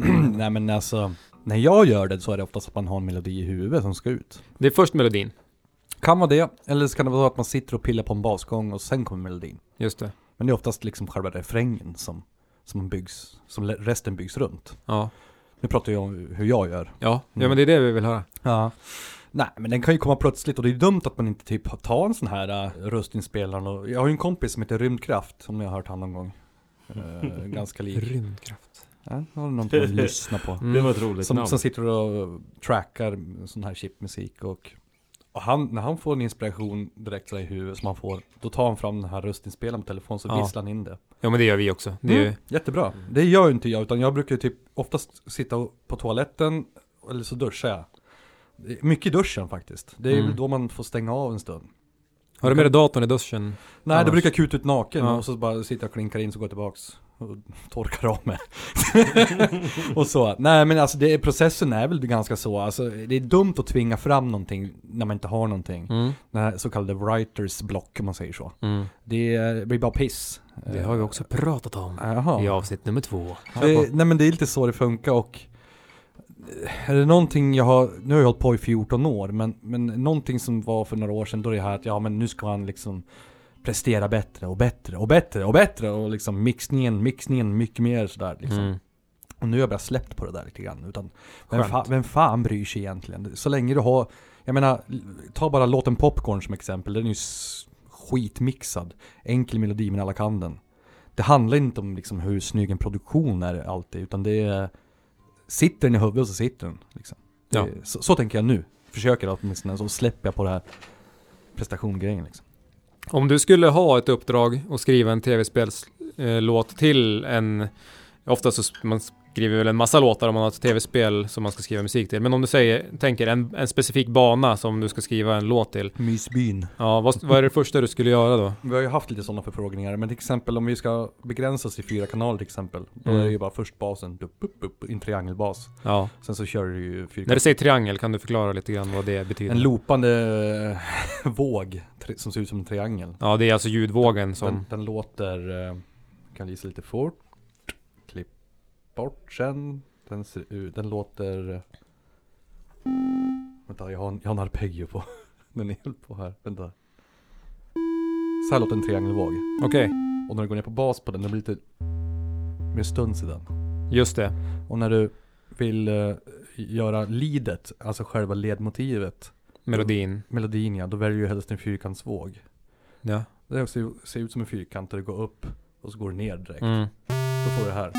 Nej.
Nej men alltså, när jag gör det så är det oftast att man har en melodi i huvudet som ska ut.
Det är först melodin.
Kan vara det, eller så kan det vara så att man sitter och pillar på en basgång och sen kommer melodin.
Just det.
Men det är oftast liksom själva refrängen som, som byggs, som le- resten byggs runt.
Ja.
Nu pratar jag om hur jag gör.
Ja, ja men det är det vi vill höra.
Ja. Nej, men den kan ju komma plötsligt och det är ju dumt att man inte typ tar en sån här uh, röstinspelare. Och, jag har ju en kompis som heter Rymdkraft, om ni har hört han någon gång. Eh, ganska lik.
Rymdkraft.
Ja, det var någonting att lyssna på.
Det var
Mm.
ett roligt
Som,
namn.
som sitter och trackar sån här chipmusik och, och han, när han får en inspiration direkt så där i huvudet som han får, då tar han fram den här röstinspelaren på telefon så
Ja.
visslar han in det.
Ja men det gör vi också. Det är ju...
Jättebra. Det gör ju inte jag, utan jag brukar ju typ oftast sitta och- på toaletten, eller så duschar jag. Det är Mycket i duschen faktiskt. Det är
Mm.
väl då man får stänga av en stund.
Har du med dig datorn i duschen?
Nej,
Annars-
då brukar jag kuta ut naken
Ja.
och så bara sitter jag och klinkar in så går jag tillbaks och torkar av mig. och så. Nej, men alltså det, är- processen är väl ganska så. Alltså, det är dumt att tvinga fram någonting när man inte har någonting.
Mm.
Den här så kallade writers block om man säger så.
Mm.
Det är- blir bara piss.
Det har vi också pratat om.
Jaha.
I avsnitt nummer två. Eh,
Det, Eh, nej men det är lite så det funkar och eh, är det någonting jag har, nu har jag hållit på i 14 år, men, men någonting som var för några år sedan då är det här att ja men nu ska han liksom prestera bättre och bättre och bättre och bättre och liksom mixningen, mixningen mycket mer sådär liksom.
Mm.
Och nu har jag bara släppt på det där lite grann. Utan vem,
Skönt.
fa, vem fan bryr sig egentligen? Så länge du har, jag menar, ta bara låten Popcorn som exempel. Den är ju s- skitmixad. Enkel melodi men alla kan den. Det handlar inte om liksom hur snygg en produktion är alltid, utan det är, sitter den i huvudet så sitter den. Liksom. Det,
Ja.
så, så tänker jag nu. Försöker åtminstone, så släpper jag på det här prestationgrejen liksom.
Om du skulle ha ett uppdrag och skriva en tv-spelslåt till en... Ofta så s- man skriver väl en massa låtar om man har ett tv-spel som man ska skriva musik till. Men om du säger, tänker en, en specifik bana som du ska skriva en låt till.
Mysbyn.
Ja, vad, vad är det första du skulle göra då?
Vi har ju haft lite sådana förfrågningar, men till exempel om vi ska begränsa oss till fyra kanaler till exempel. Då
Mm.
är det ju bara först basen, typ, upp, upp, upp, en triangelbas.
Ja.
Sen så kör du ju
När du
fyrkant.
säger triangel, kan du förklara lite grann vad det betyder?
En loopande eh, våg tri- som ser ut som en triangel.
Ja, det är alltså ljudvågen
Den,
som...
den låter, eh, kan gissa lite fort. Klipp bort sen. Den ser ut, den låter... eh, Vänta, jag har en, jag har en arpeggio på. Den är helt på här, vänta. Så här låter en triangelvåg.
Okej,
Och när du går ner på bas på den, det blir lite mer stuns i den.
just det.
Och när du vill eh, göra leadet, alltså själva ledmotivet,
Melodin.
melodin ja, då väljer du helst en fyrkantsvåg.
Ja.
Det också ser ut som en fyrkant där du går upp och så går du ner direkt.
Mm.
Då får du det här.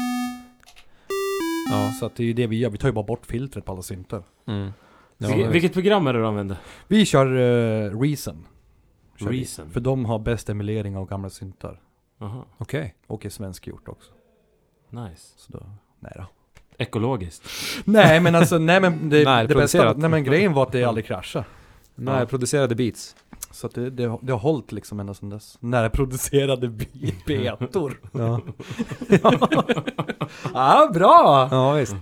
Ja.
Så att det är ju det vi gör, vi tar ju bara bort filtret på alla syntar.
Mm. Ja,
Vilket-
men-
Vilket program är det du använder?
Vi kör eh, Reason. Kör vi.
Reason?
För de har bäst emulering av gamla syntar.
Aha,
Okej.
Och är svenskgjort också.
nice.
Så då, nej då.
Ekologiskt.
Nej men alltså, nej men det,
Nej,
det bästa,
producerat.
nej men grejen var att det aldrig kraschade.
När producerade beats.
Så att det, det, har- det har hållit liksom ända sedan dess. Närproducerade bi-
Mm.
betor.
Ja,
ah, bra!
ja visst.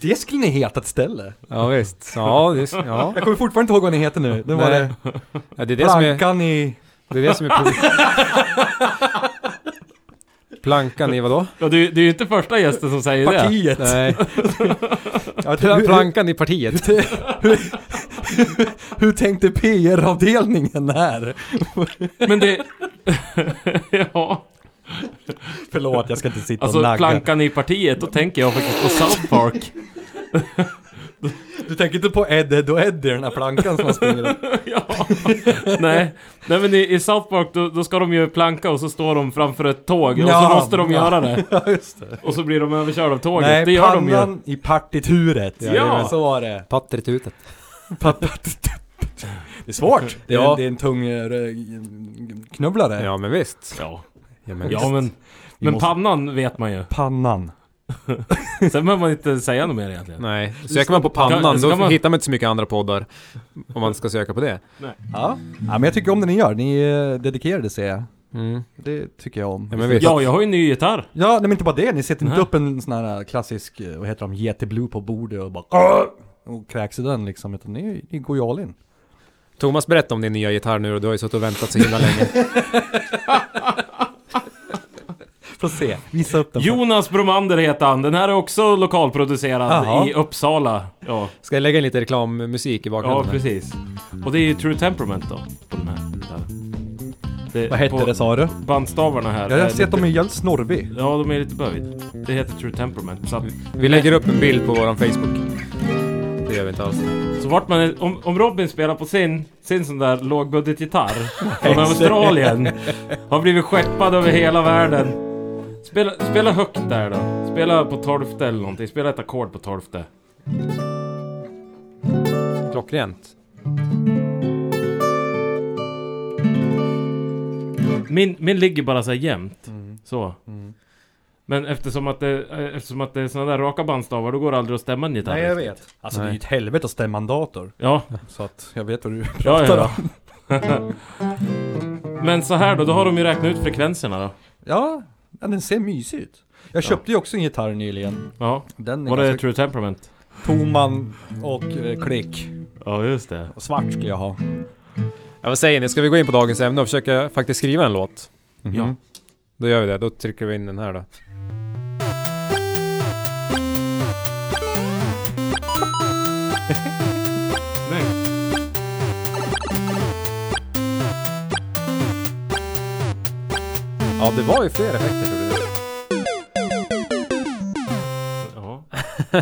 Det skulle ni heta ett ställe.
Ja, visst. Ja, det, ja.
Jag kommer fortfarande inte ihåg vad ni heter nu. Det var
Nej.
det.
Ja, det är det som är...
Plankan i...
Det är det som är problemet. Plankan i vadå?
Ja, det, är- det är ju inte första gästen som säger det.
Partiet.
Nej.
Ja, hur- hur-
Plankan i partiet.
Hur tänkte PR-avdelningen här?
Men det... ja.
Förlåt, jag ska inte sitta och
Alltså
nagga.
plankan i partiet, då tänker jag faktiskt på South Park.
Du tänker inte på Ed, Ed och Eddie, den här plankan som man springer upp?
ja. Nej. Nej men i, i South Park då, då ska de ju planka och så står de framför ett tåg och
Ja,
så måste de
ja.
göra det.
Ja, just det.
Och så blir de överkörda av tåget.
Nej,
det gör de ju.
pannan i partituret.
Ja, Ja.
Så var det.
Patteritutet.
Det är svårt. Det är,
Ja.
det är en tung eh, knubblare.
Ja, men visst.
Ja.
Ja, men
Ja men,
Vi
men
måste-
pannan vet man ju.
Pannan.
Sen behöver man inte säga något mer egentligen.
Nej, söker man på pannan
Ska- ska
då
man-
hittar man inte så mycket andra poddar. Om man ska söka på det.
Ja. ja, men jag tycker om det ni gör. Ni är dedikerade ser jag.
Mm.
Det tycker jag om.
Ja, men visst.
Ja, jag har ju en ny gitarr.
Ja, nej men inte bara det. Ni sätter inte
Nej.
upp en sån här klassisk, eh, vad heter de, GT Blue på bordet och bara "Åh!" och kräks i den liksom. Utan ni, ni går ju all in.
Thomas, berätta om din nya gitarr nu då. Du har ju suttit och väntat så himla länge.
Får se. Visa upp den.
Jonas Bromander heter han. Den här är också lokalproducerad
Jaha.
i Uppsala. Ja,
Ska jag lägga in lite reklammusik i
ja
bakgrunden? här?
precis. Och det är ju True Temperament då. På den här gitarren. Det,
Vad hette
på
det sa du?
Bandstavarna här.
Jag
är
har sett
lite-
dem i jävligt snorvig.
Ja, de är lite böjt. Det heter True Temperament. Så, att,
Vi lägger upp en bild på våran Facebook. Det gör vi inte alls.
så vart man är, om, om Robin spelar på sin, sin sån där lågbudgetgitarr från Australien. Har blivit skeppad över hela världen. Spela, spela högt där då. Spela på tolfte eller någonting. Spela ett ackord på tolfte.
Klockrent.
Min, min ligger bara så här jämnt.
Mm.
Så. Men eftersom att, det, eftersom att det är såna där raka bandstavar, då går det aldrig att stämma en gitarr.
vet. Alltså det är
Nej.
ju ett helvete att stämma en dator.
Ja,
Så att jag vet vad du...
ja, ja. ja. Men så här då, då har de ju räknat ut frekvenserna då.
Ja, ja, den ser mysig ut. Jag köpte ju också en gitarr nyligen.
Ja.
Den är
Var det
ganska...
True Temperament?
Toman och eh, klick.
Ja, just det.
Och svart skulle jag ha.
Ja, vad säger ni? Ska vi gå in på dagens ämne och försöka faktiskt skriva en låt?
Ja.
Då gör vi det. Då trycker vi in den här då. Ja, det var ju fler effekter gjorde du.
Ja.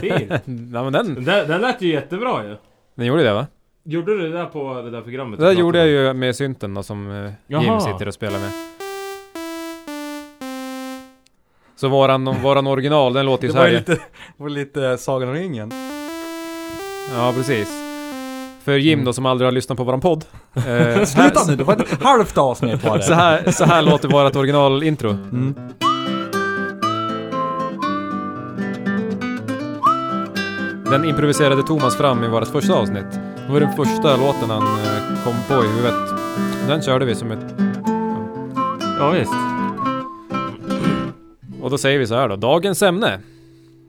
Fint.
Ja, Mm, men den,
Den, där- den lät ju jättebra ju.
den gjorde det va?
Gjorde du det där på det där programmet?
Det där
du
gjorde jag
pratade
ju med synten då, som eh, Jim
Jaha.
sitter och spelar med. Så våran, våran original, den låter ju
Det
så
var
här.
ju
ju.
lite, var lite eh, Sagan om ringen.
Ja, precis. För Jim då, som aldrig har lyssnat på våran podd. eh, så,
Sluta nu, det var ett halvt avsnitt var det.
så, här, så här låter vårat originalintro.
Mm.
Den improviserade Thomas fram i vårat första avsnitt. Det var den första låten han eh, kom på i huvudet. Den körde vi som ett...
om. Ja, visst.
Och då säger vi så här då, dagens ämne.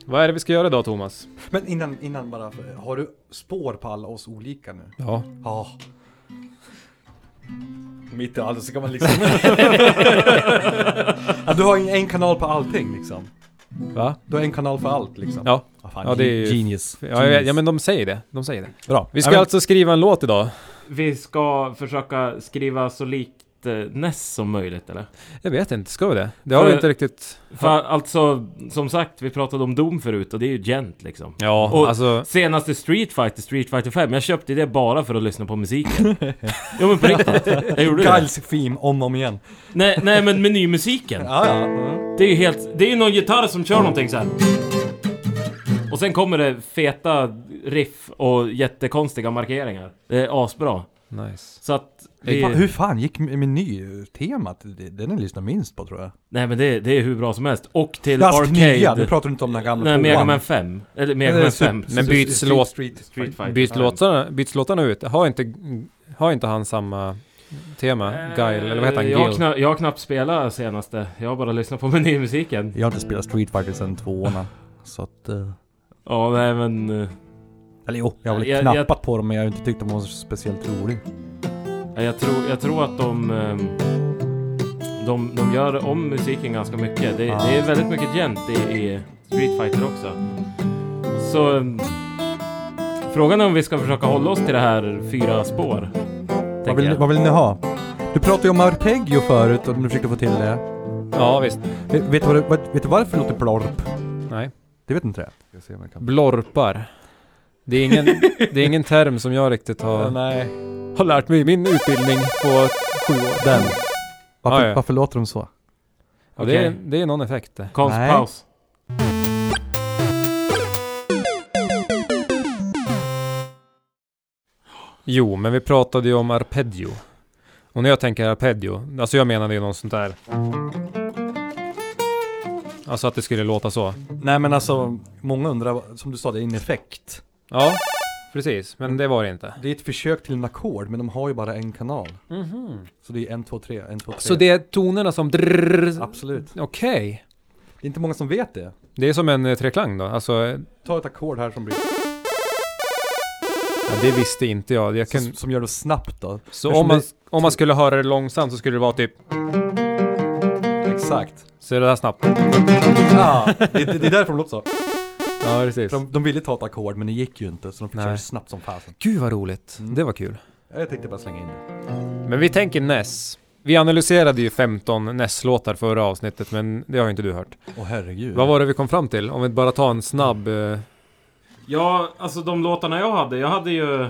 Vad är det vi ska göra idag Thomas?
Men innan, innan bara, har du spår på alla oss olika nu?
Ja.
Ja. Mitt i allt så kan man liksom... ja, du har en, en kanal på allting liksom.
Va?
Du har en kanal för allt liksom.
Ja.
Ah, fan,
Ja, det är ju-
Genius.
Ja, jag vet, ja men de säger det. De säger det.
Bra.
Vi ska
Ja, men-
alltså skriva en låt idag.
Vi ska försöka skriva så likt eh, Ness som möjligt eller?
Jag vet inte, ska vi det? Det har vi
För-
inte riktigt...
För alltså, som sagt, vi pratade om Doom förut och det är ju gent liksom.
Ja,
Och-
alltså...
Senaste Street Fighter, Street Fighter 5, jag köpte det bara för att lyssna på musiken. jo men på riktigt, jag gjorde det.
Guys theme om och om igen.
Nej, nej men menymusiken.
Ja, ja. Mm.
Det är ju helt... Det är ju någon gitarr som kör någonting så här. Och sen kommer det feta riff och jättekonstiga markeringar. Det är asbra.
Nice.
Så att... Vi,
Fan, hur fan gick m- menytemat? Det- Den är lyssnar minst på tror jag.
nej men det, det är hur bra som helst. Och till
alltså,
Arcade.
nya, nu pratar du inte om den här gamla
nej, Mega
tvåan.
Man 5. Eller Mega
Nej,
Man
super-
5.
Men byts
Street-
låt-
Street-
Street Fighter.
Byts
Ja.
låtarna, byts låtarna ut? Har inte, har inte han samma... tema? Guile, eller vad heter han?
Eh, Jag, har
Gil?
kna- jag har knappt spelat senaste. Jag har bara lyssnat på menymusiken.
Jag har inte spelat Street Fighter sedan tvåorna. Så att... eh,
Ja, nej men... eh,
Eller jo, jag har väl
Jag- jag-
knappat på dem men jag har inte tyckt de var så speciellt roliga.
Jag tror, jag tror att de... ehm, De, de gör om musiken ganska mycket. Det,
Ah.
det är väldigt mycket gent i, i Street Fighter också. Så... ehm, Frågan är om vi ska försöka hålla oss till det här fyra spår.
Vad
tänker
vill, ni-
jag.
vad vill ni ha? Du pratade ju om arpeggio förut och du försökte få till det.
Ja, visst.
Vet, vet, du, vad det- vad, vet du varför det låter blorp?
Nej.
Det vet inte jag. Ska se om jag kan...
Blorpar. Det är ingen, det är ingen term som jag riktigt
Ja,
har,
nej.
har lärt mig i min utbildning på sju år.
Den. Varför,
Ah, ja.
varför låter de så?
Ja, det, är,
Okej.
det är någon effekt det.
Konstpaus.
Jo, men vi pratade ju om arpeggio. Och när jag tänker arpeggio, alltså jag menade ju någon sånt där... Alltså att det skulle låta så.
Nej men alltså, många undrar, som du sa, det är en effekt.
Ja, precis. Men det var det inte.
Det är ett försök till en ackord, men de har ju bara en kanal.
Mhm.
Så det är en, två, tre, en, två, tre.
Så det är tonerna som... drrrr-
Absolut.
Okej.
Det är inte många som vet det.
Det är som en eh, treklang då. Alltså, eh,
Ta ett ackord här som blir...
ja, det visste inte jag. jag kan...
Som, som gör det snabbt då.
Så om man, om man skulle höra det långsamt så skulle det vara typ...
Exakt.
Så är det här snabbt.
Ja, det, det det är därför de låter så.
Ja, precis.
För De, de ville ta ett ackord, men det gick ju inte, så de fick
Nej.
köra det snabbt som fasen.
Gud vad roligt.
Mm.
Det var kul.
Ja, Jag tänkte bara slänga in det.
Men vi tänker Ness. Vi analyserade ju 15 Ness-låtar förra avsnittet, men det har ju inte du hört.
Åh herregud.
Vad var det vi kom fram till? Om vi bara tar en snabb... eh,
Ja, alltså de låtarna jag hade. Jag hade ju...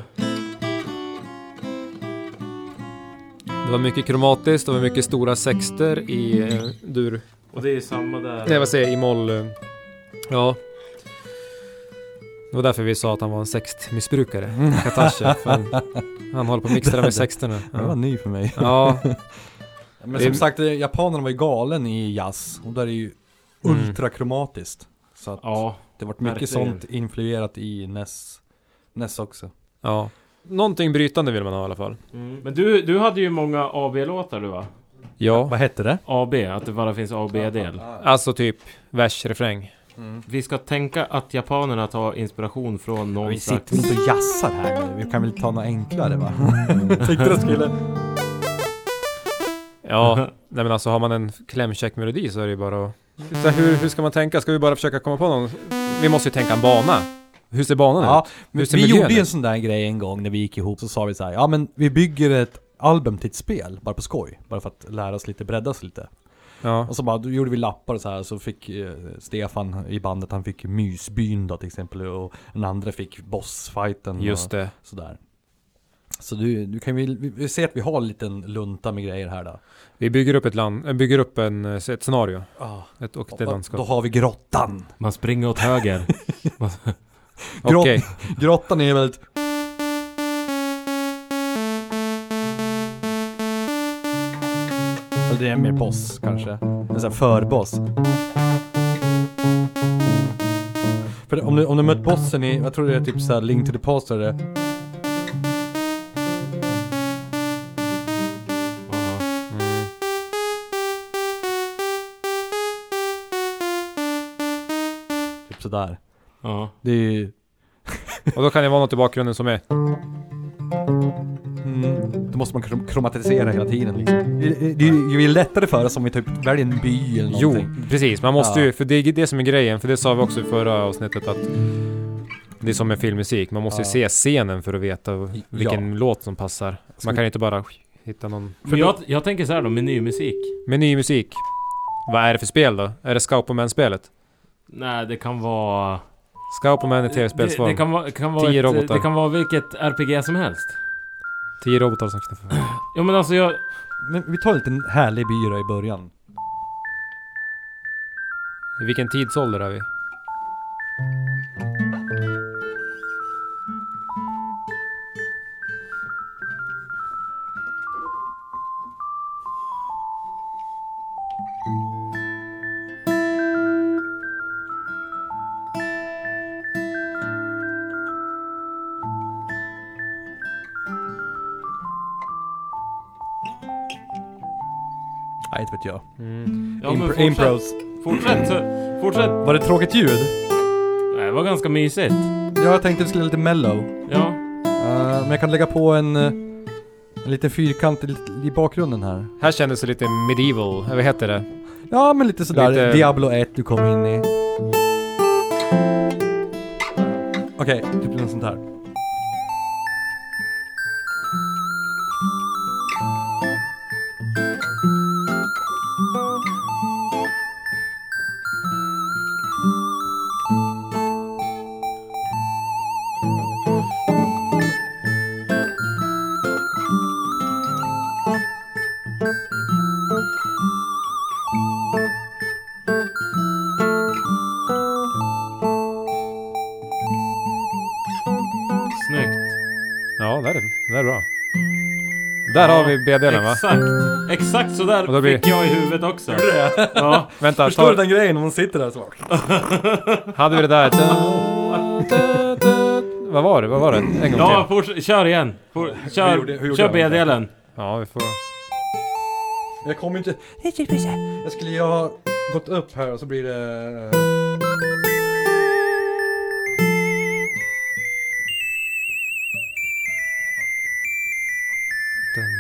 det var mycket kromatiskt, det var mycket stora sexter i eh, dur...
Och det är samma där.
Nej, vad säger jag? I moll... eh, ja. Det var därför vi sa att han var en sextmissbrukare. Katasha. för han, han håller på och mixtra med sexterna.
Det var
Ja.
ny för mig.
ja.
Men
Det-
som sagt, eh, japanerna var ju galen i jazz. Och där är det ju
Mm.
ultrakromatiskt. Så att
Ja.
det vart mycket
verkligen.
sånt influerat i Ness, Ness också.
ja. Någonting brytande vill man ha i alla fall.
Men du, du hade ju många AB-låtar du va?
Ja.
Vad hette det?
AB, att det bara finns AB-del.
Alltså typ vers, refräng.
Vi ska tänka att japanerna tar inspiration från någon
Vi
slags...
sitter inte och jazzar här nu. Vi kan väl ta något enklare va?
Mm.
Tänkte du skulle...
Ja, nej men alltså har man en klämkäck melodi så är det ju bara att... Så hur, hur ska man tänka? Ska vi bara försöka komma på någon? Vi måste ju tänka en bana. Hur ser banan ut?
Ja, men
Hur ser
vi
miljön
gjorde ju
ut?
en sån där grej en gång när vi gick ihop. Så sa vi så här, ja men vi bygger ett album till ett spel, bara på skoj. Bara för att lära oss lite, bredda oss lite.
Ja.
Och så bara, då gjorde vi lappar och så här, så fick eh, Stefan i bandet, han fick Mysbyn då till exempel. Och den andra fick Bossfighten.
Just
och
det.
Sådär. Så du, du kan vi, vi- vi ser att vi har en liten lunta med grejer här då.
Vi bygger upp ett land, äh, bygger upp en, eh, ett scenario.
Ah,
Ett, och ett
då, då
landskap.
har vi grottan.
Man springer åt höger.
Grott,
Okej.
Grottan är väldigt... Eller det är mer boss kanske. En sån här förboss. För om du, om du mött bossen i, jag tror det är typ såhär Link to the Past så är det.
Mm.
Typ sådär.
Ja.
Det är ju...
Och då kan det vara något i bakgrunden som är...
Mm, då måste man krom- kromatisera hela tiden liksom. Det, det, det är ju lättare för oss om vi typ väljer en by eller
Jo,
någonting.
precis. Man måste
Ja.
ju... För det är det som är grejen. För det sa vi också i förra avsnittet att... Det är som med filmmusik. Man måste ju se
Ja.
scenen för att veta vilken låt som passar. Man kan inte bara hitta någon...
Men jag, jag tänker så här då, menymusik.
Menymusik. Vad är det för spel då? Är det Scopoman-spelet?
Nej, det kan vara...
Scopoman är
Det, det
tv-spelsform.
kan vara, kan vara
Tio
ett,
robotar.
Det kan vara vilket RPG som helst.
Tio robotar som knuffar.
Ja men alltså jag...
Men vi tar en liten härlig by då i början.
I vilken tidsålder är vi?
Nej, inte vet jag.
Mm.
Ja, men
Impro-
fortsätt,
Impros.
fortsätt, fortsätt.
Var det tråkigt ljud?
Nej, Det var ganska mysigt.
Ja, jag tänkte vi skulle lite mellow.
Ja.
Eh, men jag kan lägga på en, eh, en liten fyrkant i, i bakgrunden här.
Här kändes det lite medieval, eller vad heter det?
Ja, men lite sådär
Lite-
Diablo 1 du kom in i. Okej, typ något sånt här.
Snyggt.
Ja, det är det. Det är bra. Där har vi B-delen va?
Exakt. Exakt sådär
Och då blir-
fick jag i huvudet också. Ja.
Vänta,
Förstår du
ta,
den grejen när man sitter där så? bara-
hade vi det där? Vad var det? Vad var det? En gång
Ja,
till.
forts- kör igen. For- kör
gjorde- hur gjorde
kör
jag?
B-delen.
Ja, vi får...
Jag kommer inte... Jag skulle ju ha gått upp här och så blir det... eh,
Dun,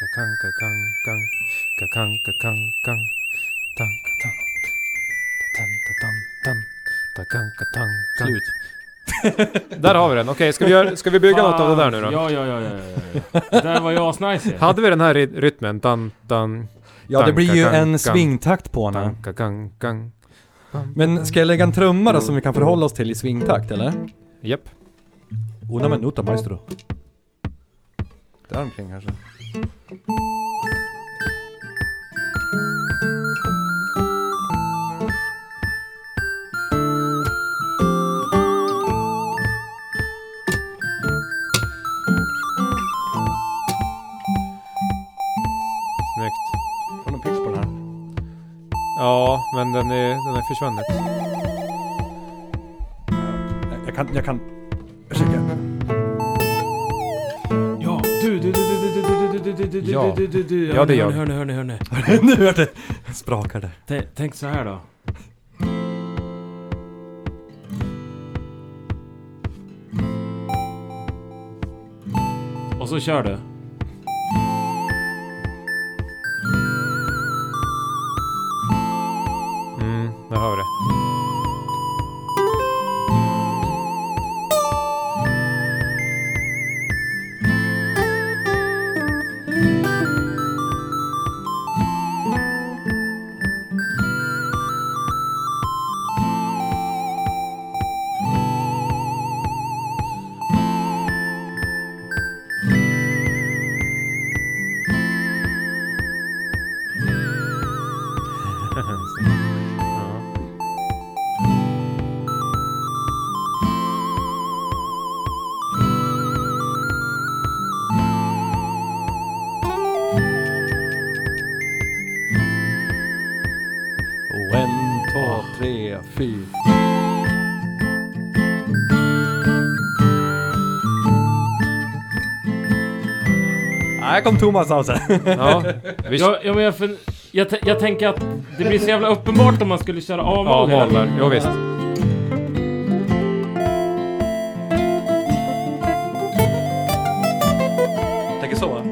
kakang, kakang, kang. Kakang, kakang, kang. Tang, katang. Tatan, tatan, tan. Takang, katang, kang.
Slut.
Där har vi den. Okej, ska vi, göra, ska vi bygga något av det där nu då?
Ja, ja, ja, ja, ja, ja. Det där var ju asnice ju.
Hade vi den här ry- rytmen? Dan, dan,
Ja, det blir ju
Tanka, tanka.
en svingtakt på den.
dan, kakang, kang.
Men ska jag lägga en trumma då som vi kan förhålla oss till i svingtakt eller?
Japp.
Una minuta maestro. Där omkring kanske.
Snyggt.
Har du någon pitch på den här?
Ja, men den är, den är försvunnit.
Jag, jag kan, jag kan... Ursäkta.
Ja, du, du, du, du, du, du, du, du, du, du, du,
Ja.
du, du, du.
Ja, det är jag.
Hörni, hörni, hörni, hörni.
nu hör det sprakar det.
T- Tänk så här då. Och så kör du.
Mm, där har vi det. Ja.
Och Oh, en, två, tre, fyra. Här kom Thomas av sig.
Ja, vi
Ja, ja, men jag, fun- jag, t- jag tänker att det blir så jävla uppenbart om man skulle köra
Ja,
A-moll hela
målar.
tiden.
Jo, visst.
Tänker så va?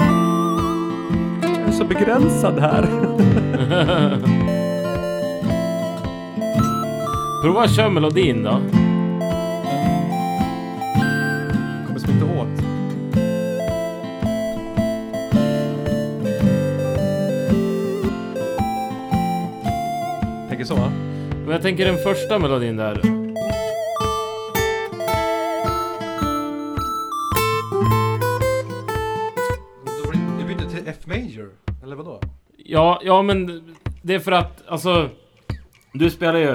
Jag är så begränsad här.
Prova att köra melodin då.
Kommer smita åt. Tänker så va?
Men jag tänker den första melodin där.
Du bytte till F major, eller vadå?
Ja, ja men det är för att alltså... Du spelar ju...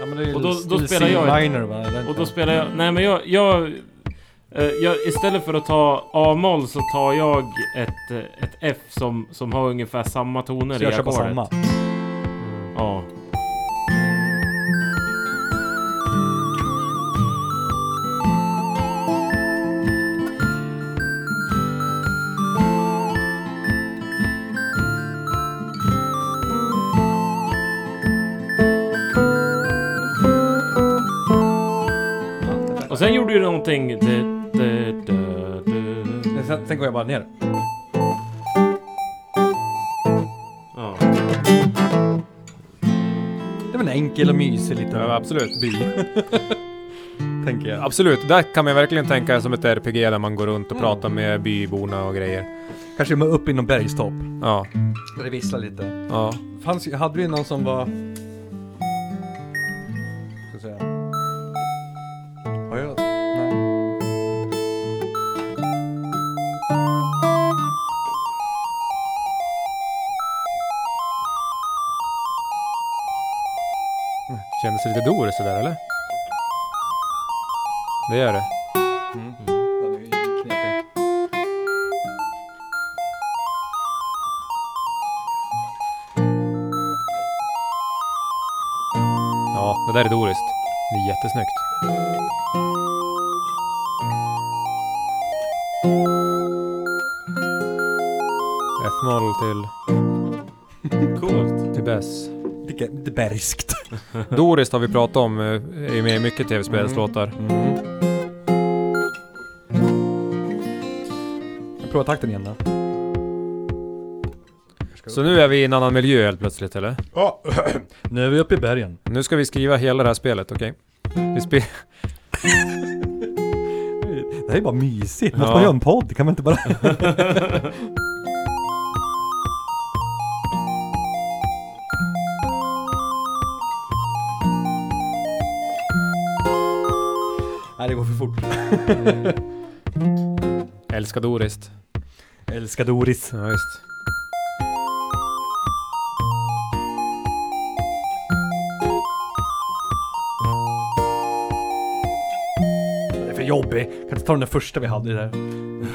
Ja men det är ju
Och då- då
still
spelar
C
jag ett-
minor va? Eller
Och
inte?
då spelar jag... Nej men jag... jag, eh, jag istället för att ta A-moll så tar jag ett, eh, ett F som, som har ungefär samma toner
Så jag
i
kör på
ackordet.
samma. Mm.
Ja. Och sen gjorde ju någonting... Du- du- du- du-
Sen, sen går jag bara ner.
Ja.
Det är väl en enkel och mysig liten
Ja, absolut.
by. Tänker jag.
Absolut, där kan man verkligen tänka som ett RPG där man går runt och pratar
Mm.
med byborna och grejer.
Kanske med upp i någon bergstopp.
Ja,
Där det visslar lite.
ja.
Fanns ju- hade vi någon som var... Ska säga. Har jag... Nej.
Kändes det lite Doris sådär eller? Det gör det.
Mm. Den är ju knepig.
Ja, det där är Doris. Det är jättesnyggt. F-moll till,
Coolt.
till Bess.
Lite, lite bergskt.
Doris har vi pratat om, eh, är ju med i mycket tv-spelslåtar.
Mm. Jag provar takten igen då.
Så nu är vi i en annan miljö helt plötsligt eller?
Ja. nu är vi uppe i bergen.
Nu ska vi skriva hela det här spelet, okej? Vi spe-
Det här är bara mysigt.
Ja.
Måste man göra en podd? Kan man inte bara... Nej, det går för fort.
Älskar Doris.
Älskar Doris.
Ja, visst.
Det är för jobbig. Kan inte ta den där första vi hade där.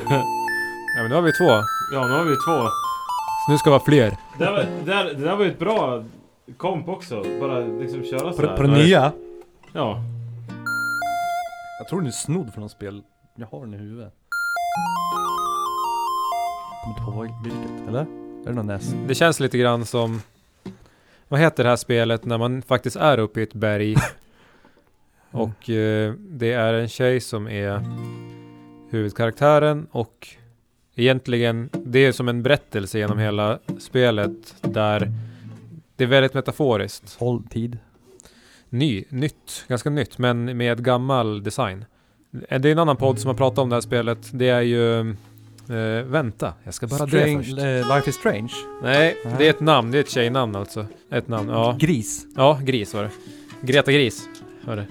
Ja, men nu har vi två.
Ja, nu har vi ju två.
Så nu ska det vara fler.
Det där, var, det, där, det där var ju ett bra komp också. Bara liksom köra
På,
sådär.
på den nya.
Ja.
Jag tror den är snodd från något spel. Jag har den i huvudet. Kommer inte ihåg vilket, eller? Är det någon NES?
Det känns lite grann som... Vad heter det här spelet när man faktiskt är uppe i ett berg och eh, det är en tjej som är huvudkaraktären och egentligen det är som en berättelse genom hela spelet där det är väldigt metaforiskt.
Håll tid.
Ny, nytt, ganska nytt men med gammal design. Eh, Det är en annan podd som har pratat om det här spelet. Det är ju... eh, vänta, jag ska bara dra först.
Eh, Life is strange.
Nej,
Nej.
det är ett namn. Det är ett tjejnamn alltså. Ett namn, ja.
Gris.
Ja, Gris var det. Greta Gris var det.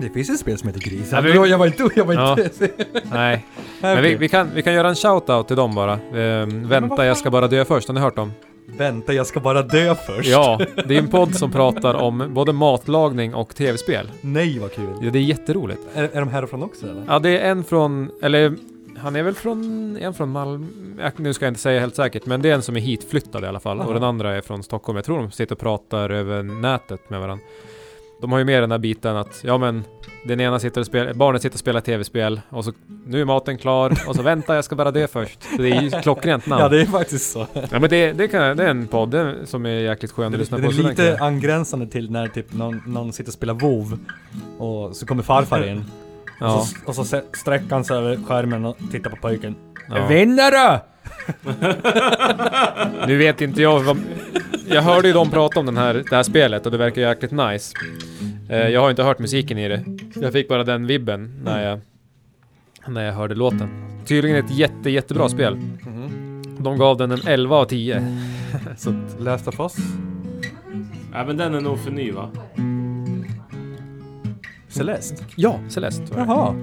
Det finns ett spel som heter Gris.
Ja,
Jag,
vi-
jag var inte... Jag var inte...
Nej, men vi, vi, kan, vi kan göra en shout-out till dem bara. Ehm, vänta, jag ska bara dö först. Har ni hört dem?
Vänta, jag ska bara dö först.
Ja, det är en podd som pratar om både matlagning och tv-spel.
Nej, vad kul.
Ja, det är jätteroligt.
Är, är de härifrån också eller?
Ja, det är en från, eller han är väl från, en från Malmö, Ja, nu ska jag inte säga helt säkert, men det är en som är hitflyttad i alla fall. Och
Aha.
den andra är från Stockholm. Jag tror de sitter och pratar över nätet med varandra. De har ju med den här biten att, ja men, den ena sitter och spelar, barnet sitter och spelar tv-spel och så, nu är maten klar och så vänta jag ska bara dö först. Så det är ju klockrent namn.
Ja,
Ja,
det är faktiskt så.
men det, det, kan, det är en podd det är- som är jäkligt skön
Den
att lyssna
är, den
på.
är
så den kan
lite
jag-
angränsande till när typ någon, någon sitter och spelar WoW och så kommer farfar in. Och
Ja,
så, och så se- sträcker han sig över skärmen och tittar på pojken.
ja.
Vinner du!
Nu vet inte jag vad... Jag hörde ju dem prata om den här, det här spelet och det verkar jäkligt nice. Eh, Jag har inte hört musiken i det. Jag fick bara den vibben när jag, när jag hörde låten. Tydligen ett jätte, jättebra spel. De gav den en 11 av 10.
Mhm. Så Last of Us?
Nej men den är nog för ny va?
Celeste?
Ja, Celeste var det.
Jaha.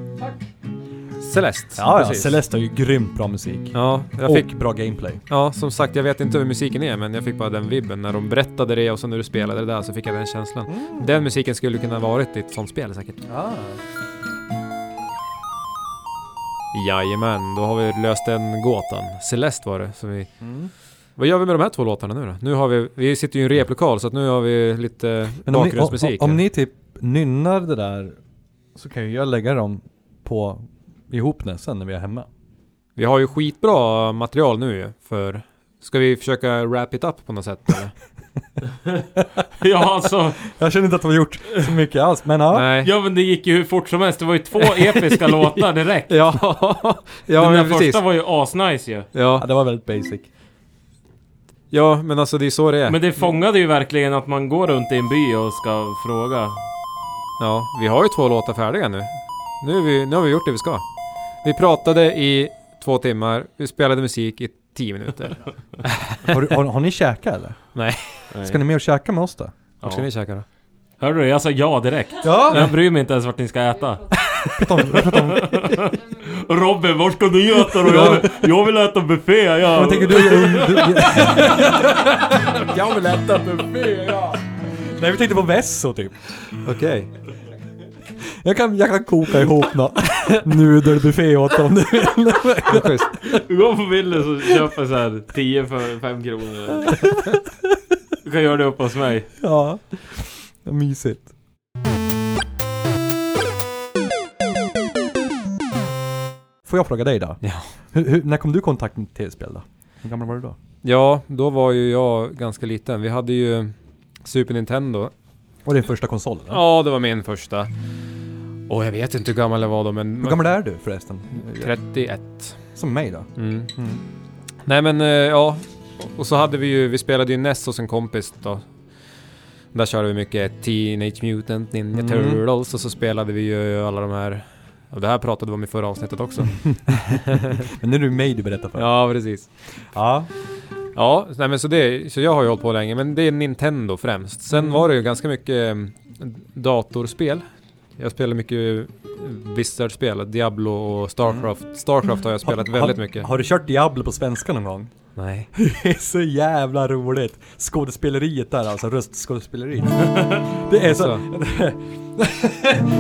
Celeste.
Ja, ja
Mm. precis.
Celeste har ju grymt bra musik.
Ja, jag
och
fick,
bra gameplay.
ja, som sagt, jag vet inte hur musiken är, men jag fick bara den vibben. När de berättade det och sen när du spelade det där så fick jag den känslan.
Mm.
Den musiken skulle kunna varit i ett sånt spel säkert. Jajamän, då har vi löst den gåtan. Celeste var det. Så vi... Vad gör vi med de här två låtarna nu då? Nu har vi, vi sitter ju i en replokal så att nu har vi lite
Men om ni, om,
bakgrundsmusik.
om
här.
ni typ nynnar det där så kan ju jag lägga dem på ihop den sen när vi är hemma.
Vi har ju skitbra material nu ju för... Ska vi försöka wrap it up på något sätt eller?
Ja alltså,
Jag känner inte att de har gjort så mycket alls, men ja.
Nej.
ja men det gick ju hur fort som helst. Det var ju två episka låtar direkt.
Ja, ja
Den där
men precis.
första var ju asnice ju.
Ja,
Ja.
det var väldigt basic.
ja, men alltså det är så det är.
Men det fångade ju verkligen att man går runt i en by och ska fråga.
Ja, vi har ju två låtar färdiga nu. Nu, är vi, nu har vi gjort det vi ska. Vi pratade i två timmar, vi spelade musik i tio minuter.
Har, du- har, har ni käkat eller?
Nej.
Ska ni med och käka med oss då?
Ja.
Vart ska ni käka då?
Hörde du? Jag sa ja direkt.
Ja!
Jag bryr mig inte ens vart ni ska äta.
Prata om, prata om.
Robin, var ska ni äta då? Jag vill, jag vill äta buffé. Jag...
Vad tänker du? är ung, du
Jag vill äta buffé, ja.
Nej, vi tänkte på Vesso typ.
Okej.
Jag kan, jag kan koka ihop nå nudelbuffé åt dem.
Okay.
Gå på Willys och köpa så här 10 för 5 kronor. Du kan göra det upp hos mig.
Ja. Mysigt. Får jag fråga dig då?
Ja.
Hur, hur, när kom du i kontakt med tv-spel då? Hur gammal var du då?
Ja, då var ju jag ganska liten. Vi hade ju Super Nintendo.
Var det din första konsol? Eller?
Ja, det var min första. Och jag vet inte hur gammal jag var då, men...
Hur gammal är du förresten?
31.
Som mig då?
Mm. Nej men eh, ja, och så hade vi ju, vi spelade ju NES hos en kompis då. Där körde vi mycket Teenage Mutant Ninja
Mm.
Turtles och så spelade vi ju alla de här, och det här pratade vi om i förra avsnittet också.
Men nu är det mig du berättar för.
ja precis.
ja.
Ja, nej men så det, så jag har ju hållit på länge men det är Nintendo främst. Sen
Mm.
var det ju ganska mycket eh, datorspel. Jag spelar mycket Blizzard-spel, Diablo och Starcraft. Starcraft har jag spelat väldigt mycket.
Mm. Har, har du kört Diablo på svenska någon gång?
Nej.
Det är så jävla roligt! Skådespeleriet där alltså, röstskådespeleriet. Det är
Alltså.
så...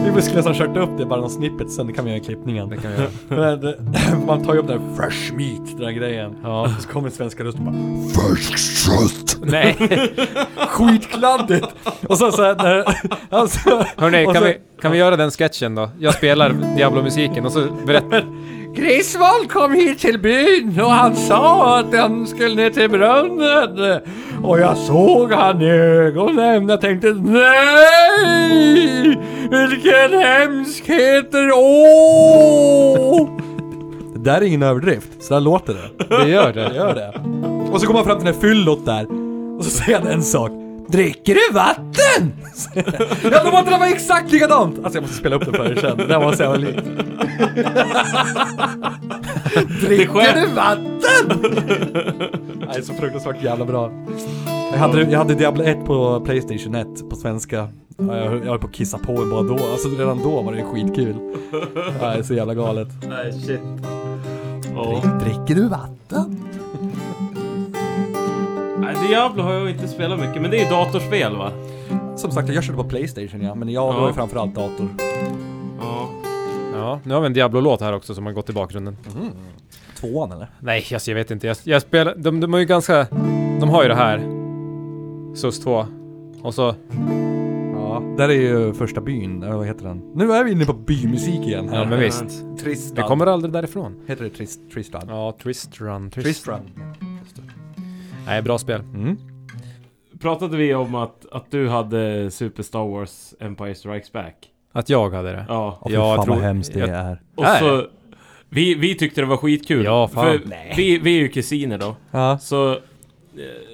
Vi måste nästan kört upp det, bara någon snippet, sen kan vi göra klippningen.
Det kan jag göra.
Men, eh, Man tar ju upp den här fresh meat, den där grejen.
Ja.
Så kommer svenska rösten bara
Nej.
skitkladdigt! Och så såhär, när- alltså...
Hörni,
och
kan,
så-
vi, kan vi göra den sketchen då? Jag spelar Diablo-musiken och så berättar...
Grisvold kom hit till byn och han sa att han skulle ner till brunnen. Och jag såg han i ögonen. Jag tänkte nej! Vilken hemskheter! Åh! Det där är ingen överdrift. Så där låter det.
Det gör
Det
det.
gör det. Och så kommer han fram till den här fyllot där. Och så säger han en sak. Dricker du vatten? ja, de låter det vara exakt likadant! Alltså jag måste spela upp det för er sen. Det där var så jävla likt. Dricker du vatten? Nej, så fruktansvärt jävla bra. Jag hade, jag hade Diablo 1 på Playstation 1 på svenska. Ja, Jag höll jag höll på att kissa på mig bara då. Alltså redan då var det skitkul. Nej, så jävla galet.
Nej shit. Oh.
Dricker du vatten?
Diablo har jag inte spelat mycket, men det är datorspel va?
Som sagt, jag körde på Playstation ja, men jag
Ja.
var ju framförallt dator.
Ja.
Ja, nu har vi en Diablo-låt här också som har gått i bakgrunden.
Tvåan eller?
Nej, alltså, jag vet inte. Jag, jag spelar... De, de har ju ganska... De har ju det här. SUS 2. Och så...
Ja. Där är ju första byn, eller vad heter den? Nu är vi inne på bymusik igen här.
Ja, men visst.
Tristad.
Vi kommer aldrig därifrån.
Heter det Trist, Tristad?
Ja, Tristran. Trist.
Tristad.
Nej, bra spel.
Mm.
Pratade vi om att, att du hade Super Star Wars Empire Strikes Back?
Att jag hade det.
Ja.
Åh, fy
Ja, jag
fan
tror-
vad hemskt det
jag-
är.
Och
Nej.
så... Vi, vi tyckte det var skitkul.
Ja, fan.
För vi, vi är ju kusiner då.
Ja.
Så, eh,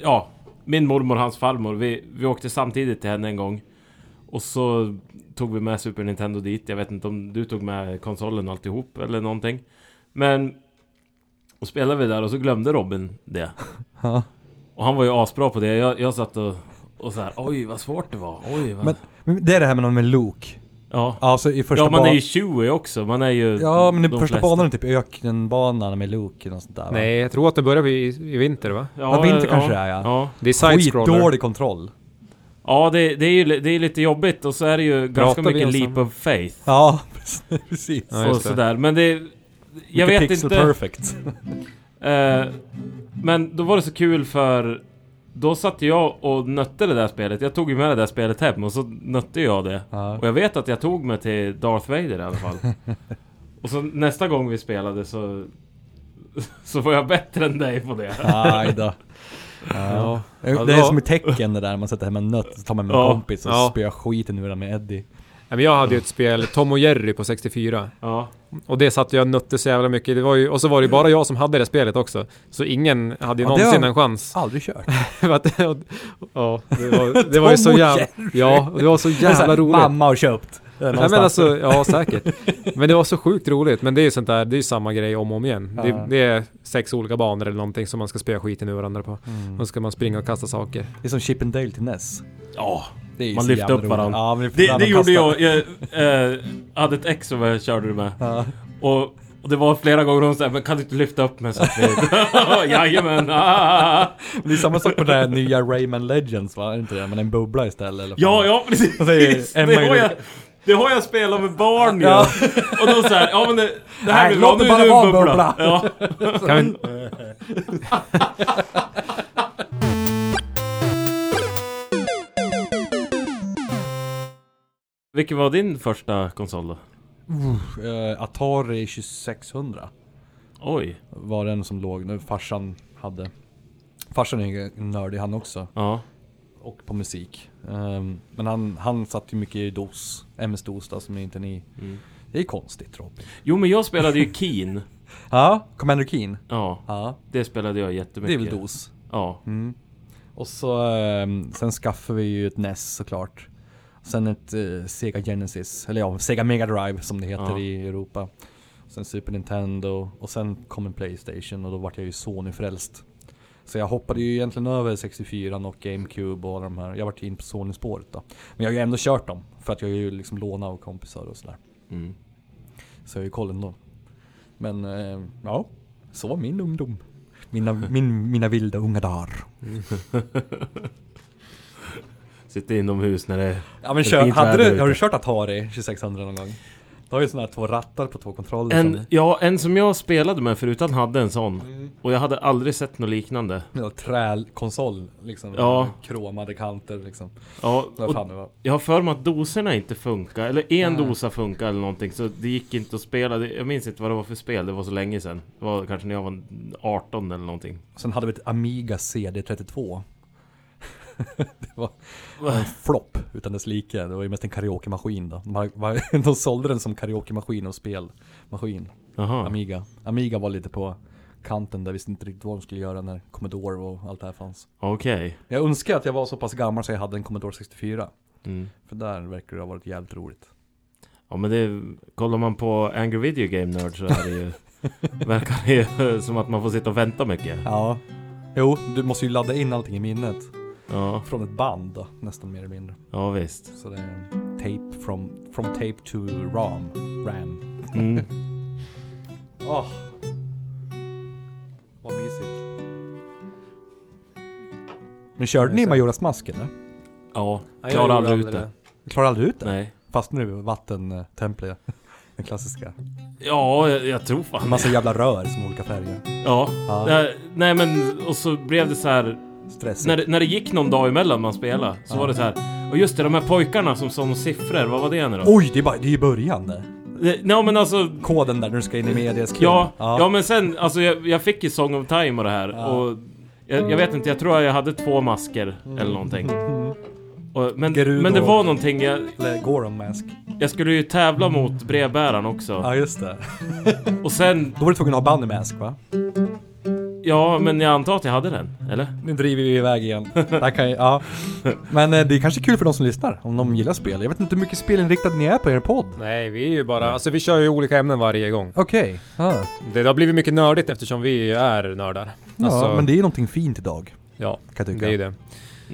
ja. Min mormor och hans farmor, vi, vi åkte samtidigt till henne en gång. Och så tog vi med Super Nintendo dit. Jag vet inte om du tog med konsolen och alltihop eller någonting. Men... Och spelade vi där och så glömde Robin det.
Ja.
Och han var ju asbra på det. Jag, jag satt och, och så här, oj vad svårt det var. Oj vad...
Men, men det är det här med någon med Luke.
ja.
Alltså i första
ja, man
ba-
är ju 20 också. Man är ju...
Ja, men i
de
första
flesta.
banan är typ ökenbanan med Luke och något sånt där va?
Nej, jag tror att det börjar i, i vinter, va?
Ja, vinter kanske det är, ja.
Ja,
Det är side-scroller.
Skitdålig kontroll.
ja det, det är ju li- det är lite jobbigt och så är det ju ganska
Pratar vi
alltså
ens
mycket leap
om-
of faith.
Ja, precis.
Ja,
och
just det.
sådär. Men det... Jag
Mycket
vet
pixel
inte.
perfect.
Eh, men då var det så kul för... Då satt jag och nötte det där spelet. Jag tog ju med det där spelet hem och så nötte jag det.
Ja.
Och jag vet att jag tog mig till Darth Vader i alla fall. och så nästa gång vi spelade så... Så var jag bättre än dig på det.
Aj då. Ja.
Ja,
Det
det
är
var-
som i tecken det där, man sätter hem en nöt, så tar man med en
Ja,
kompis och
ja.
spöar skiten ur den med Eddie.
Nej, men jag hade ju ett spel, Tom och Jerry på 64.
Ja.
Och det satt jag och nötte så jävla mycket. Det var ju, och så var det ju bara jag som hade det spelet också. Så ingen hade ju
Ja, det
någonsin
har-
en chans.
Aldrig kört.
För att- ja, det var, det var ju så
Tom och
jävla... Ja, det var så jävla roligt.
Mamma har köpt.
Nej men alltså, ja säkert. Men det var så sjukt roligt. Men det är ju sånt där, det är ju samma grej om och om igen.
Ja.
Det, det är sex olika banor eller någonting som man ska spöa skiten ur varandra på.
Mm.
Och ska man springa och kasta saker.
Det är som Chip and Dale till Ness.
Ja.
Det är ju
Man
så
lyfter
jävla
upp
roligt.
varandra.
Ja, vi-
Det,
man
det gjorde
kastar-
jag. Jag eh, hade ett ex som jag körde med.
Ja.
Och, och det var flera gånger hon sa men kan du inte lyfta upp mig så att vi... Jajamän! Ah.
Det är samma sak på det här nya Rayman Legends va? Är det inte det? Men en bubbla istället eller?
Ja, ja precis!
Och säger,
Det
en
har,
möjlighet-
jag, det har jag spelat med barn ju!
Ja.
Och då såhär, ja men det, det här
Nej,
blir bra,
låt
nu
det
är
bara
du en
vara
bubbla!
bubbla.
Ja.
Alltså,
Kan vi,
Vilken var din första konsol då?
Eh, Atari 2600
Oj!
var den som låg nu. Farsan hade. Farsan är ju nördig han också.
Ja.
Och på musik. Ehm, men han, han satt ju mycket i DOS. MS-DOS då som inte ni...
Mm.
Det är konstigt Robin.
Jo men jag spelade ju Keen.
Ja, Commander Keen.
Ja,
Ja,
det spelade jag
det är
jättemycket.
väl DOS. Mm.
Ja.
Och så ehm, sen skaffade vi ju ett NES såklart. Sen ett eh, Sega Genesis, eller ja, Sega Mega Drive som det heter
Ja.
i Europa. Sen Super Nintendo och sen kom en Playstation och då vart jag ju Sony-frälst. Så jag hoppade ju egentligen över 64 och GameCube och alla de här. Jag vart ju in på Sony-spåret då. Men jag har ju ändå kört dem. För att jag har ju liksom lånat av kompisar och sådär.
Mm.
Så jag har ju koll ändå. Men eh, ja, så var min ungdom. Mina, min, mina vilda unga dagar.
Sitter inomhus när det är
Ja men
Det är
kör,
fint
hade
väder
du,
ute.
har du kört Atari 2600 någon gång? Du har ju sådana här två rattar på två kontroller
En,
liksom. som
ja, en som jag spelade med förut, han hade en sån.
Mm.
Och jag hade aldrig sett något liknande.
ja, trälkonsol liksom.
Ja.
med Kromade kanter liksom.
Ja,
Vad
och
fan det var.
jag har för mig att doserna inte funkar, eller en dosa funkar eller någonting. Så det gick inte att spela. Det- Jag minns inte vad det var för spel, det var så länge sedan. Det var kanske när jag var 18 eller någonting.
Sen hade vi ett Amiga CD32. det var en flopp utan dess like. Det var ju mest en karaokemaskin då. De, hade- de sålde den som karaokemaskin och spelmaskin.
Jaha.
Amiga. Amiga var lite på kanten där, visste inte riktigt vad de skulle göra när Commodore och allt det här fanns.
Okej.
Jag önskar att jag var så pass gammal så jag hade en Commodore 64.
Mm.
För där verkar det ha varit jävligt roligt.
Ja men det... Kollar man på Angry Video Game Nerd så är det ju... verkar det ju som att man får sitta och vänta mycket.
Ja. Jo, du måste ju ladda in allting i minnet.
Ja,
Från ett band då, nästan mer eller mindre.
ja visst.
Så det är tape from, from tape to ram. Ram.
Mm.
Åh! Vad mysigt. Men körde ni Majoras mask eller?
Ja,
jag
klarar
gjorde
aldrig ut
aldrig
det.
Ni klarade aldrig ut det?
Nej.
Fast nu, vattentemplet. Den klassiska.
Ja, jag, jag tror fan
En massa jävla rör som olika färger.
Ja.
Ja.
Eh, Nej men, och så blev det så här.
Stressigt.
När, det- när det gick någon dag emellan man spelade så var det så här. Och just det, de här pojkarna som sa om siffror, vad var det nu då?
Oj, det är, bara, det är ju början det.
Eh, Nej men alltså...
Koden där när du ska in i medias kul.
Ja, ja. men sen, alltså jag, jag fick ju Song of Time och det här och... Jag, jag vet inte, jag tror jag hade två masker eller någonting. Och, men,
Gerudo.
men det var någonting, jag,
Eller Goron Mask.
jag skulle ju tävla mot brevbäraren också.
Ja, just det.
Och sen,
Då var du tvungen att ha Bunny Mask va?
ja men jag antar att jag hade den, eller?
Nu driver vi iväg igen. Där kan jag, ja. Men eh, det är kanske kul för de som lyssnar, om de gillar spel. Jag vet inte hur mycket spelinriktad ni är på er podd.
nej, vi är ju bara... Alltså vi kör ju olika ämnen varje gång.
Okej. Ja.
Det har blivit mycket nördigt eftersom vi är nördar.
Ja,
Alltså,
men det är ju någonting fint idag,
ja,
kan jag tycka.
det är ju det.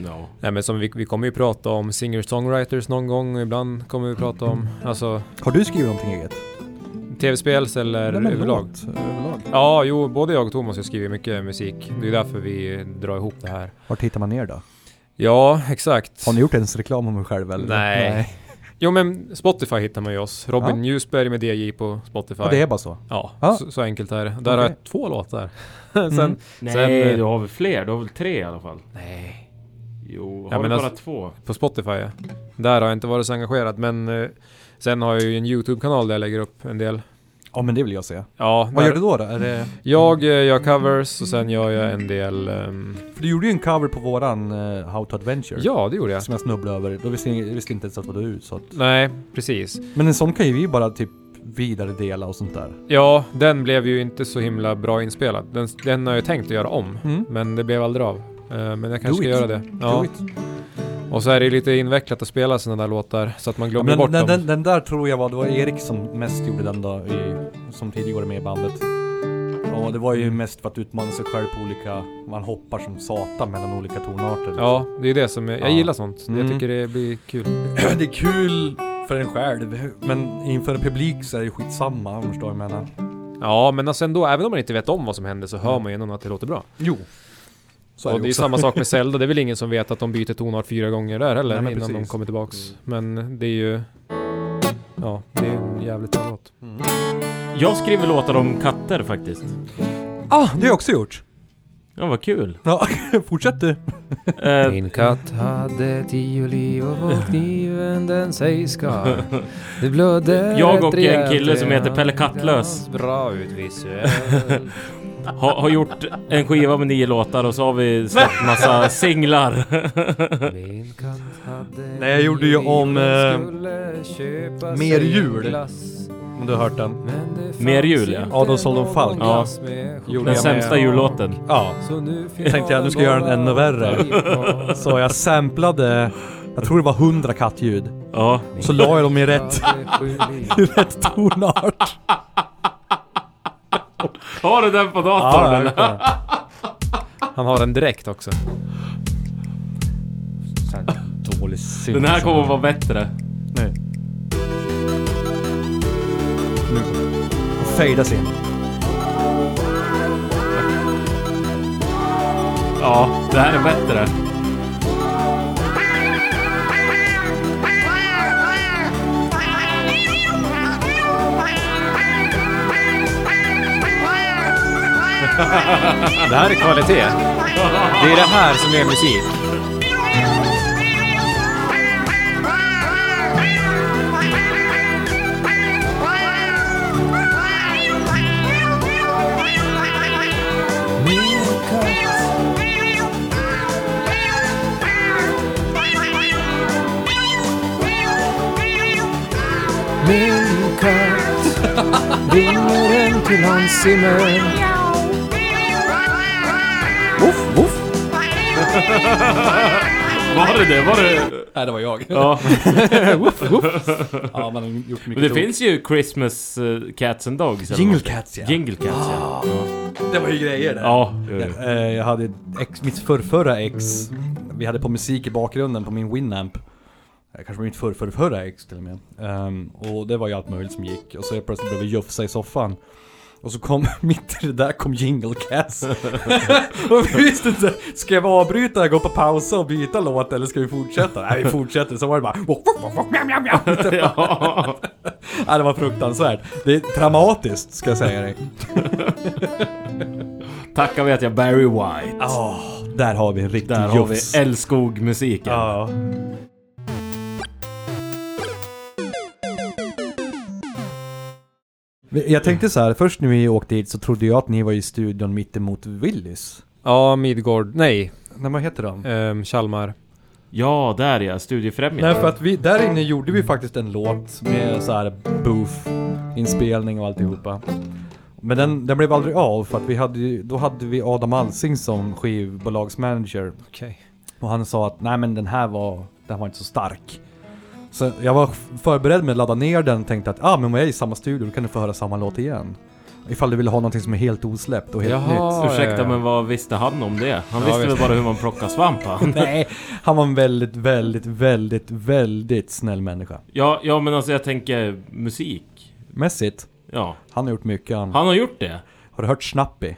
Ja.
Nej men som vi, vi kommer ju prata om singer-songwriters någon gång och ibland kommer vi prata om alltså
Har du skrivit någonting eget?
tv-spels eller
Nej, men
överlag.
låt, överlag.
Ja, jo, både jag och Thomas har skrivit mycket musik. Det är därför vi drar ihop det här.
Vart hittar man er då?
Ja, exakt.
Har ni gjort ens reklam om er själv eller?
Nej. Jo men Spotify hittar man ju oss. Robin
Ja.
Ljusberg med DJ på Spotify.
Ja, det är bara så.
Ja,
Ja.
Så, så enkelt är det. Där har
Okej.
jag två låtar. Sen,
Mm.
Nej,
Sen, eh,
du har väl fler? Du har väl tre i alla fall?
Nej.
Jo, har
Ja,
du
men
bara
alltså-
två?
På Spotify ja. Där har jag inte varit så engagerad men eh, sen har jag ju en YouTube-kanal där jag lägger upp en del.
Ja men det vill jag se.
Ja,
Vad
där-
gör du då? då? Är det,
Jag eh, gör covers och sen gör jag en del... ehm,
för du gjorde ju en cover på våran eh, How to Adventure.
ja, det gjorde jag.
Som jag snubblade över. Då visste jag visste inte ens att det var du. Så att,
Nej, precis.
men en sån kan ju vi bara typ vidare dela och sånt där.
Ja, den blev ju inte så himla bra inspelad. Den, den har jag tänkt att göra om,
Mm.
men det blev aldrig av. Eh, Men jag kanske ska
it.
göra det. Ja.
Do it.
Och så är det ju lite invecklat att spela sådana där låtar så att man glömmer
Men
bort
den,
dem.
den, den där tror jag var, det var Erik som mest gjorde den då, i, som tidigare var med i bandet. Ja, det var ju mest för att utmana sig själv på olika, man hoppar som satan mellan olika tonarter.
Ja, det är det som jag, jag
Ja.
gillar sånt. Jag
Mm.
tycker det blir kul.
Det är kul för en själv, men inför en publik så är det ju skitsamma om du förstår vad jag menar.
Ja, men alltså ändå, även om man inte vet om vad som händer så hör man ju ändå att det låter bra.
Jo. Så är
och
det,
det är ju
också.
samma sak med Zelda, det är väl ingen som vet att de byter tonart fyra gånger där heller
Nej, men
innan de
precis. Mm.
kommer tillbaks. Men det är ju... Ja, det är en jävligt bra låt.
Mm.
Jag skriver låtar om katter faktiskt.
Ah, det har jag också gjort!
Ja, vad kul.
Ja, fortsätt du.
Eh,
Min katt hade tio liv och på kniven den sig skar. Det blödde
Jag och en rejält kille som heter Pelle Kattlös.
Bra ut visuellt.
har, har gjort en skiva med nio låtar och så har vi släppt massa singlar.
Min katt hade
Nej, jag gjorde ju om, eh, Mer jul. Om du har hört den.
Mer jul, ja.
Adolfsson och Falk.
Ja. Den
jag
sämsta
med.
jullåten.
Ja.
Så nu
Tänkte jag, nu ska jag göra den ännu värre. Så jag samplade, jag tror det var 100 kattljud.
Ja.
Så la jag dem i rätt, i rätt tonart.
Har du den på datorn
jag har
eller?
gjort det.
Han har den direkt också.
Dålig synt.
Den här kommer att vara bättre.
Nu. Nu. Och Fejdas in.
Ja, det här är bättre.
Det här är kvalitet. Det är det här som är musik. Min katt ringer hem till hans himmel.
Woof, woof.
Var det det? Var det...
Nej, det var jag.
Ja.
ja, man har gjort mycket
Men det
tog.
finns ju Christmas eh, Cats and Dogs. eller
Jingle
någonting.
Cats ja.
Jingle Cats ja.
Det var ju grejer där.
Ja. jo, jo.
Eh, Jag hade ett ex, mitt förrförra ex, vi hade på musik i bakgrunden på min Winamp. Eh, Kanske mitt förrförrförra ex till och med. Ehm, och det var ju allt möjligt som gick. Och så jag plötsligt blev jag jufsa i soffan. Och så kom, mitt i det där kom Jingle Cats. och vi visste inte, ska jag avbryta, gå på pausa och byta låt eller ska vi fortsätta? Nej vi fortsätter, så var det bara...
Ja.
Nej, det var fruktansvärt. Det är traumatiskt ska jag säga dig.
Tackar vet jag Barry White.
Ja, där har vi en riktig
Där har vi
jufs.
Älskog-musiken.
Ja. Jag tänkte så här, först när vi åkte hit så trodde jag att ni var i studion mittemot Willys.
Ja, Midgård. Nej,
Nej, vad heter de?
um, Chalmar.
Ja, där ja.
Nej,
Studiefrämjandet.
för att vi, där inne gjorde vi faktiskt en låt med så här booth, inspelning och alltihopa. Men den, den blev aldrig av för att vi hade ju, då hade vi Adam Alsing som skivbolagsmanager
Okej.
Och han sa att nej men den här var, den var inte så stark. Så jag var förberedd med att ladda ner den och tänkte att ah, men om jag är i samma studio då kan du få höra samma låt igen. Ifall du vill ha någonting som är helt osläppt och helt
Jaha.
nytt.
Ursäkta
Ja, ja.
men vad visste han om det? Han
Ja,
visste väl
visst.
bara hur man plockar svamp han.
Nej, han var en väldigt, väldigt, väldigt, väldigt snäll människa.
Ja, ja men alltså jag tänker musik.
Mässigt,
Ja.
han har gjort mycket. Han,
Han har gjort det.
Har du hört Snappy?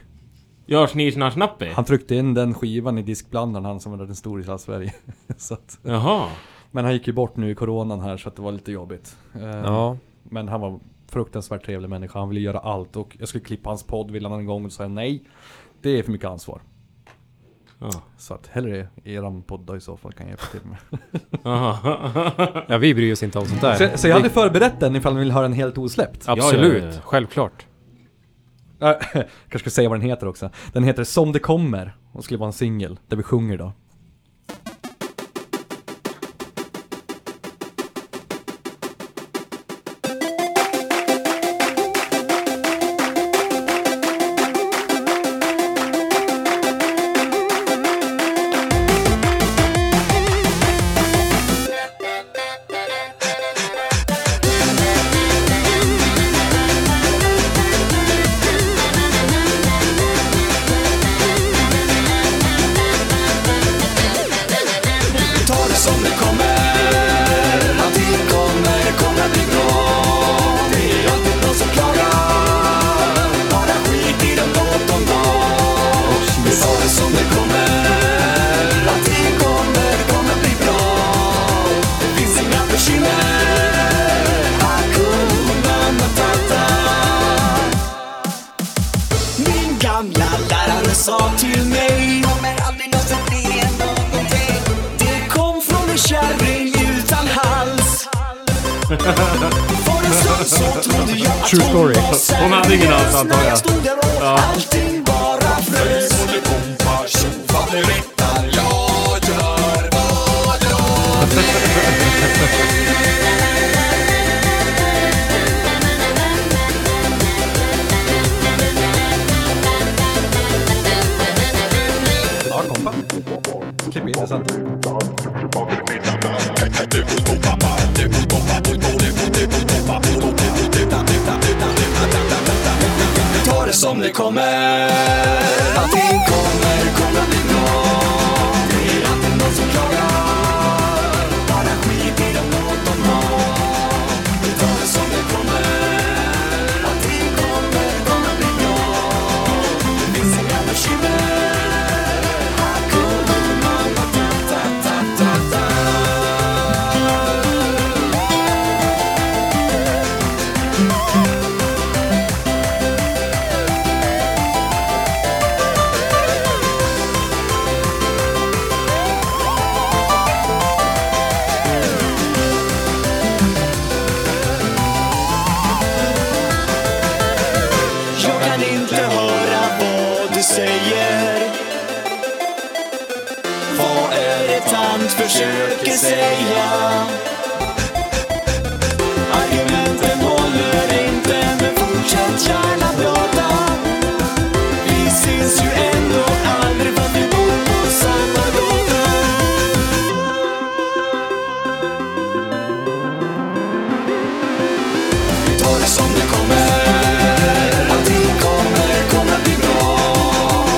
Gör snirr-snarr-snappi.
Han tryckte in den skivan i diskblandaren, han som var den stor i hela Sverige. så att,
Jaha.
men han gick ju bort nu i coronan här så att det var lite jobbigt. Eh,
Ja.
Men han var fruktansvärt trevlig människa. Han ville göra allt och jag skulle klippa hans podd ville han en gång och sa jag nej. Det är för mycket ansvar.
Ja.
Så att hellre eran podd i så fall kan jag hjälpa till med.
Aha.
Ja, vi bryr oss inte om sånt där.
Så, så jag hade förberett den ifall ni vill höra den helt osläppt.
Absolut,
Ja, ja, ja.
självklart.
Äh, kanske ska säga vad den heter också. Den heter Som det kommer och skulle vara en singel där vi sjunger då.
Ta det som det kommer Allting kommer, kommer bli bra Det är alltid någon som klagar Bara skit i dem låt dem vara Vi tar det som det kommer Allting kommer, kommer bli bra Det finns inga bekymmer Hakuna Matata min gamla lärare sa till mig Kommer aldrig någonsin bli en någonting Det kom från en kärring utan hals För en stund så trodde jag att True story. hon var seriös
Hon hade ingen hals, antar jag.
När jag stod där och allting bara frös Både pumpar, tjoffar, blir rättar Jag gör vad jag vill
Ja, kompa. Klipp in det sen.
Ta det som det kommer Allting kommer, kommer bli bra Det är alltid någon som klagar Bara skit i dem, låt dem ha Ta det som det kommer Allting kommer, kommer bli bra Det finns inga bekymmer Hakuna matata Jag kan inte höra vad du säger Vad är det tant försöker säga? Argumenten håller inte men fortsätt gärna prata Vi ses ju ändå aldrig för vi bor på samma gata Ta det som det kommer Allting kommer, kommer bli bra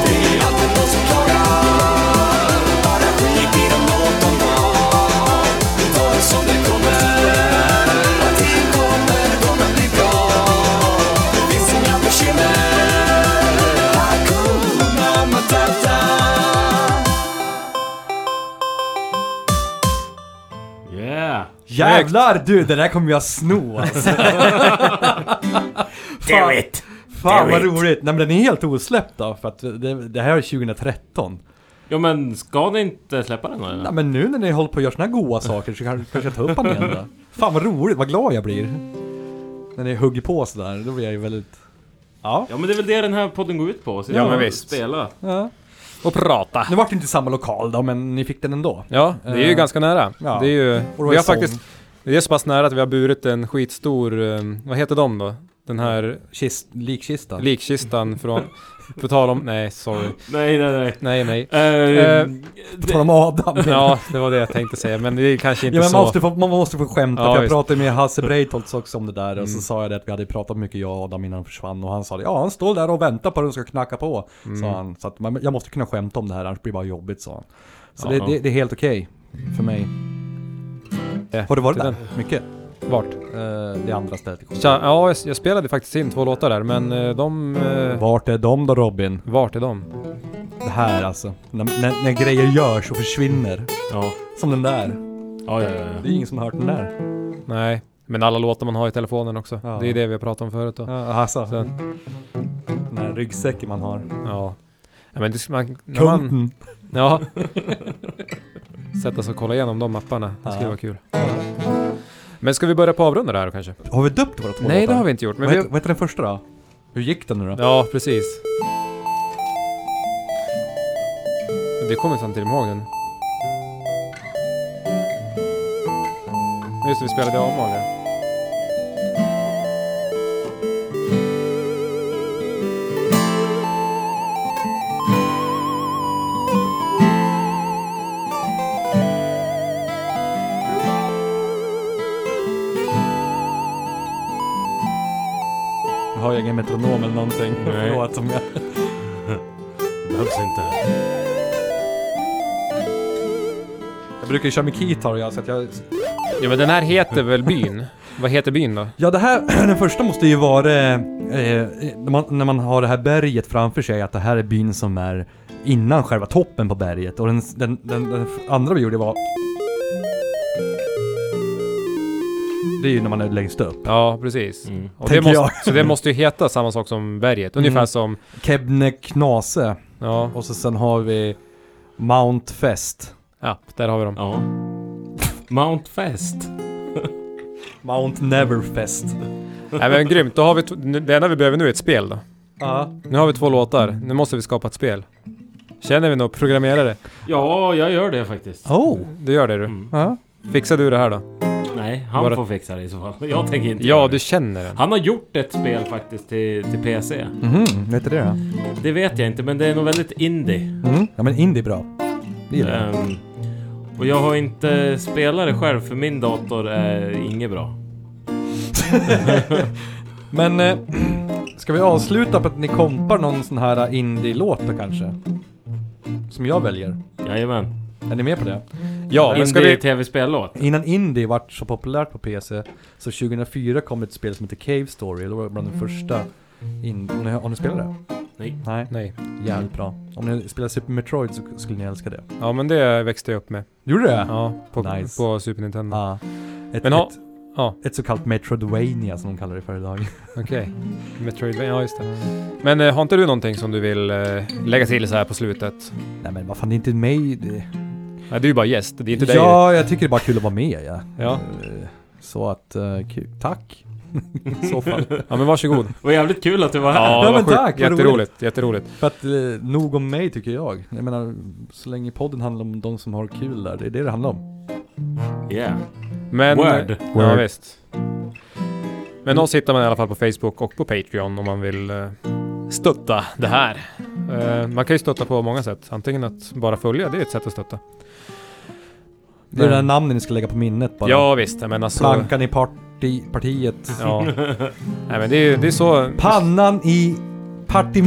Det är alltid någon som klagar Bara skit i dem, låt dem vara Vi tar det som det kommer Allting kommer, kommer bli bra Det finns inga bekymmer Hakuna matata
Yeah!
Jävlar du, det där kommer jag sno alltså. Do it! Fan vad roligt! Nej men den är helt osläppt då, för att det, det här är 2013.
Ja men ska ni inte släppa den då eller?
Nej men nu när ni håller på att göra såna här goa saker så kanske kanske jag tar upp den igen då. Fan vad roligt, vad glad jag blir. När ni hugger på sådär, då blir jag ju väldigt... Ja.
Ja men det är väl det den här podden går ut på? Så
Ja,
vi
men
kan
visst.
Spela.
ja.
Och prata.
Nu vart det inte samma lokal då, men ni fick den ändå.
Ja, det är ju
Eh,
ganska nära.
ja.
Det är ju,
då
vi
är
har
sång.
faktiskt, det är så pass nära att vi har burit en skitstor, eh, vad heter de då? Den här
Kist, likkista.
likkistan från, på tal om, nej sorry,
Nej nej nej.
nej nej.
Eh,
Eh,
På tal om Adam.
Ja, det var det jag tänkte säga, men det är kanske inte
Ja, men
så.
man, måste få, man måste få skämta.
Ja,
för jag
visst. Mm.
pratade med Hasse Breitholtz också om det där. Och så sa jag det att vi hade pratat mycket jag och Adam innan han försvann. Och han sa det, ja han står där och väntar på att de ska knacka på.
Mm.
Sa han. Så att man, jag måste kunna skämta om det här annars blir det bara jobbigt sa han. Så det,
Ja.
det, det är helt okej för mig.
Eh,
Har du varit
till
där? Mycket.
den. Vart?
Eh, det andra stället.
Tja, Ja, jag, jag spelade faktiskt in två låtar där, men eh, de... Eh,
Vart är de då Robin?
vart är de?
Det här alltså. När, när, när grejer görs och försvinner.
ja.
Som den där.
Ja, ja, ja,
Det är ingen som har hört den där.
Nej, men alla låtar man har i telefonen också.
Ja.
Det är det vi har pratat om förut då.
Ja, Hasse.
Så,
Den här ryggsäcken man har.
ja. Ja, men det, man, när man, ja. Sätta sig och kolla igenom de mapparna. Det skulle
Ja.
vara kul. Men ska vi börja på avrunda det här kanske?
Har vi döpt våra två
Nej, det
låtar?
har vi inte gjort. Men
vad,
vi
heter, vad heter den första då? Hur gick den nu då?
Ja, precis. Det kommer samtidigt ihåg den. Just det, vi spelade om av den.
Jag har egen metronom eller någonting.
Nej.
Förlåt om jag...
Behövs inte.
Jag brukar ju köra med keytar jag, så att jag...
Ja, men den här heter väl byn? Vad heter byn då?
Ja det här, den första måste ju vara... Eh, eh, när, man, när man har det här berget framför sig, att det här är byn som är innan själva toppen på berget. Och den, den, den, den andra vi gjorde var... Det är ju när man är längst upp.
Ja, precis.
Mm.
Och det
Tänker
måste,
jag.
så det måste ju heta samma sak som berget. Ungefär
Mm.
som...
Kebnekaise.
Ja,
Och så sen har vi Mount Fest.
ja, där har vi dem.
Ja. Mount Fest.
Mount Neverfest.
Nej men grymt, då har vi... t- nu- Det enda vi behöver nu är ett spel då.
Ja.
Nu har vi två låtar. Nu måste vi skapa ett spel. Känner vi någon programmerare?
Ja, jag gör det faktiskt.
Oh!
Du gör det du.
Mm.
Ja.
Fixar du det här då?
Nej, han
Bara-
får fixa det i så fall. Jag tänker inte
Ja,
göra
du
det.
känner den.
Han har gjort ett spel faktiskt till, till PC.
Mm.
Mhm, vad heter det då?
Det vet jag inte, men det är nog väldigt indie.
Mm. Ja men indie är bra. Det gillar
Mm.
jag.
Ehm, och jag har inte spelat det själv, för min dator är inget bra.
Men eh, ska vi avsluta på att ni kompar någon sån här indie-låt då kanske? Som jag väljer.
Jajamän.
Är ni med på det?
Ja, men ska vi...
Indie-tv-spellåt.
Innan indie vart så populärt på PC så 2004 kom ett spel som heter Cave Story. Det var bland de första indie... Har ni spelat det?
Nej.
Nej.
Nej.
Jävligt bra. Om ni spelar Super Metroid så skulle ni älska det.
Ja, men det växte jag upp med.
Gjorde du det?
Ja, på,
Nice.
på Super Nintendo.
Ja.
Mm.
Ett,
Men ha-
ett,
ja.
ett så kallat Metroidvania som de kallar det för idag.
Okej. Metroidvania, ja just det. Men eh, har inte du någonting som du vill eh, lägga till så här på slutet?
Nej men vad fan, det är inte mig det...
Nej, du är ju bara gäst. Det är inte dig.
Ja, jag tycker det är bara kul att vara med ja.
Ja.
Eh, Så att, eh, kul. Tack! I så fall.
ja, men varsågod.
Det var jävligt kul att du var här.
Ja,
Ja,
vad
men
sjukt.
tack, vad
Jätteroligt, jätteroligt.
För att, eh, nog om mig tycker jag. Jag menar, så länge podden handlar om de som har kul där, det är det det handlar om.
Yeah.
Men,
Word.
eh, Ja,
Word.
visst. Men oss hittar man i alla fall på Facebook och på Patreon om man vill eh, stötta det här. Eh, man kan ju stötta på många sätt. Antingen att bara följa, det är ett sätt att stötta.
Det är det där
Men-
namnet ni ska lägga på minnet bara.
Ja visst, jag menar så.
Plankan i parti, partiet.
Ja. Nej men det är, det är så.
Pannan i parti...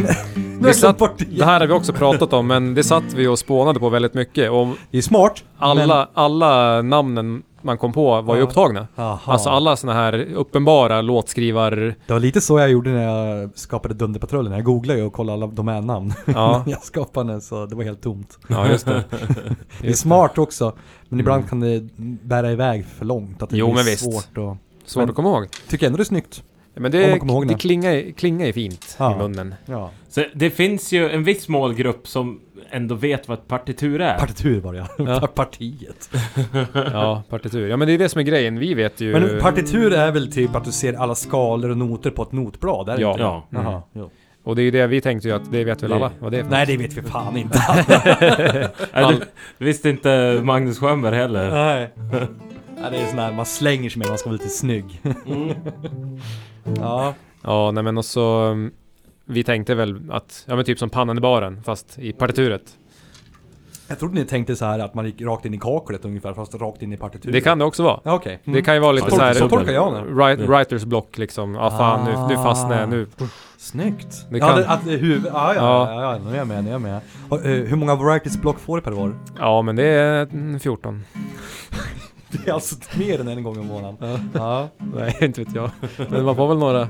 Nu har jag glömt
satt-
bort
Det
det.
här har vi också pratat om, men det satt vi och spånade på väldigt mycket. Och
Det är smart.
alla, alla namnen man kom på var ju
Ja.
upptagna.
Aha.
Alltså alla såna här uppenbara låtskrivar...
Det var lite så jag gjorde när jag skapade Dunderpatrullen. Jag googlade ju och kollade alla domännamn.
Ja,
jag skapade den så det var helt tomt.
ja just det. Mm.
det är smart också, men ibland kan det bära iväg för långt. Att det
Jo,
blir
men visst.
svårt och...
Svårt
Men-
att komma ihåg.
Tycker ändå det är snyggt.
Men
Om
det,
man kommer ihåg
det
det.
klingar, klingar ju fint i
Ja.
munnen.
Ja.
Så det finns ju en viss målgrupp som ändå vet vad ett partitur är.
Partitur var det
Ja.
ja. Partiet.
Ja, partitur. Ja men det är det som är grejen. Vi vet ju...
Men partitur är väl typ att du ser alla skalor och noter på ett notblad? Är det
Ja.
inte?
ja.
Mm.
Jaha. Jo.
Och det är ju det vi tänkte ju att det vet väl
Det-
alla vad det är för
Nej, det vet vi fan inte.
Äh, det det visste inte Magnus Sjöberg heller.
Nej. Ja, det är sån här, man slänger sig med, man ska vara lite snygg.
Mm.
Ja.
Ja, nej men och så... um, Vi tänkte väl att, ja men typ som pannan i baren, fast i partituret.
Jag trodde ni tänkte så här att man gick rakt in i kaklet ungefär, fast rakt in i partituret.
Det kan Mm. det också vara.
Ja, okej.
Det kan ju vara lite
Så
så
tolkar-
här...
Så tolkar jag det.
Write, writers block liksom. Ja fan nu, nu fastnar jag nu.
Ah. Snyggt.
Det
Det
kan-
Ja, det, att det är huvud... Ja, ja,
Ja.
ja, ja, nu är jag med, nu är jag med. Och, eh, hur många varieties block får du per år?
Ja men det är mm, 14.
Det är alltså mer än en gång i månaden. Ja.
Nej inte vet jag. Men man får väl några.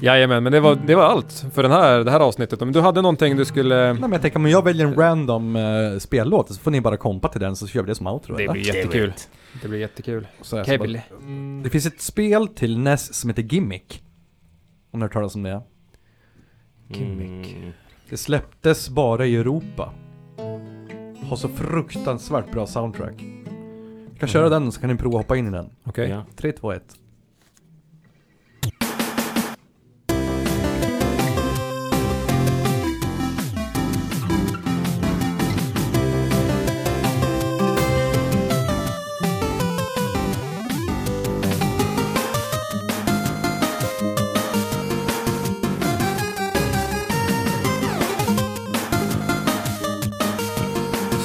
Jajamän men det var, det var allt för den här, det här avsnittet. Men du hade någonting du skulle...
Nej men jag tänker om jag väljer en random eh, spellåt så får ni bara kompa till den så kör vi det som outro.
Det
eller?
blir jättekul. Det blir jättekul.
Så jag ska
Kevil.
bara- Det E finns ett spel till NES som heter Gimmick. Om ni har hört talas om det.
Quebec.
Mm.
Det släpptes bara i Europa. Har så fruktansvärt bra soundtrack. Vi kan köra
Mm.
den så kan ni prova att hoppa in i den.
Okej.
Ja.
3, 2, 1.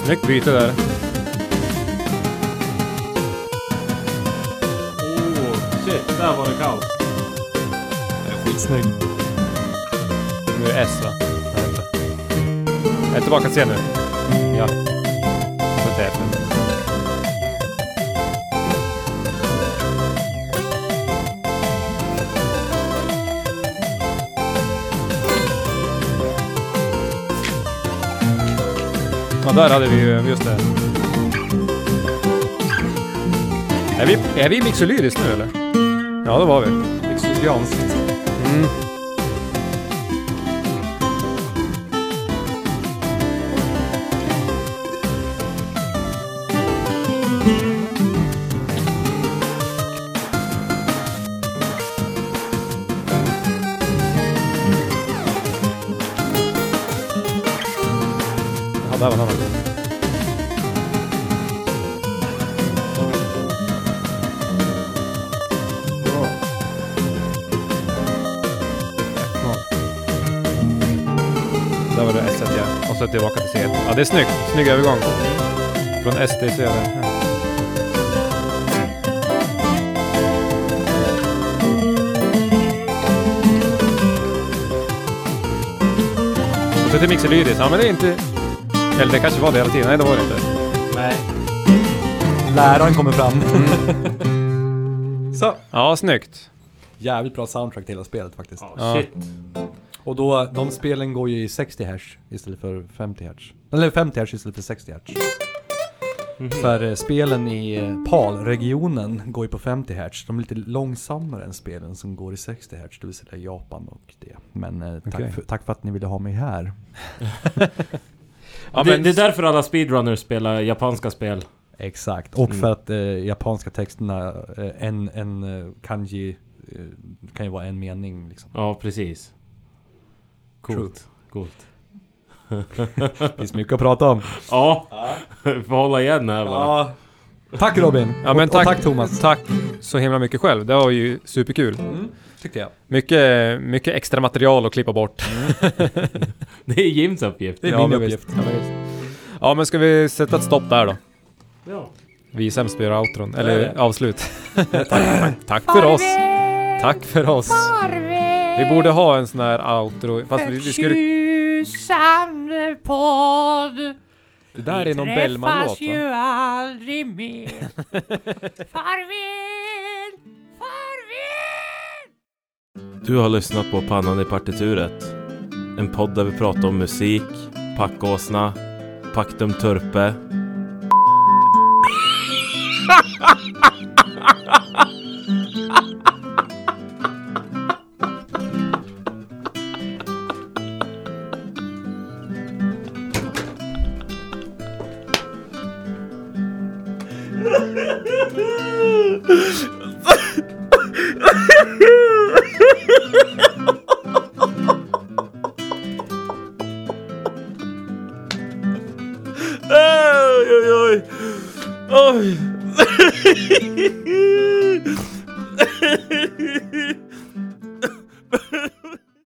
Snyggt byte där.
Oh, shit, där var det kaos.
Eh, Skitsnygg. Nu är det S va? Jag är tillbaka till C nu. Ja. Så det är F nu. Ja, där hade vi ju, just det. Är vi, är vi mixolyriskt nu eller? Ja, det var vi.
Lyxianskt.
Mm. Ja, där var han. Där var det S ja. Och så tillbaka till C. Ja, det är snyggt. Snygg övergång. Från S till C där. Ja. Och så till Mixelyris. Ja, men det är inte... Eller det kanske var det hela tiden. Nej, det var det inte.
Läraren kommer fram. så.
Ja, snyggt.
Jävligt bra soundtrack till hela spelet faktiskt.
Ja,
Ja.
shit.
Och då, de spelen går ju i 60 hertz istället för 50 hertz. Eller 50 hertz istället för 60 hertz. För eh, spelen i eh, PAL-regionen går ju på 50 hertz. De är lite långsammare än spelen som går i 60 hertz, det vill säga Japan och det. Men eh, tack,
Okej.
för, tack för att ni ville ha mig här.
Ja,
det,
men...
det är därför alla speedrunners spelar japanska spel.
Exakt, och för att eh, japanska texterna, eh, en, en eh, kanji eh, kan ju vara en mening liksom.
Ja, precis. Coolt. Coolt.
Det finns mycket att prata om.
Ja, vi får hålla igen här bara.
Ja. Tack Robin!
Ja, men
och, tack,
tack-
och tack Thomas! Mm,
Tack så himla mycket själv. Det var ju superkul.
Tyckte jag.
Mycket, mycket extra material att klippa bort.
Det är Jims uppgift.
Det är min
men
uppgift.
visst. Ja, men visst. ja, men ska vi sätta ett stopp där då?
Ja.
Vi är sämst på att göra outron, eller avslut. tack, tack för oss. Tack för oss. Vi borde ha en sån här outro, fast vi, vi skulle...
Tjusande podd
Det där är någon
träffas
Bellman-låt
ju
va?
aldrig mer Farväl, farväl
Du har lyssnat på Pannan i partituret. En podd där vi pratar om musik, packåsna, Pactum Turpe. Oj, oj, oj. Oj.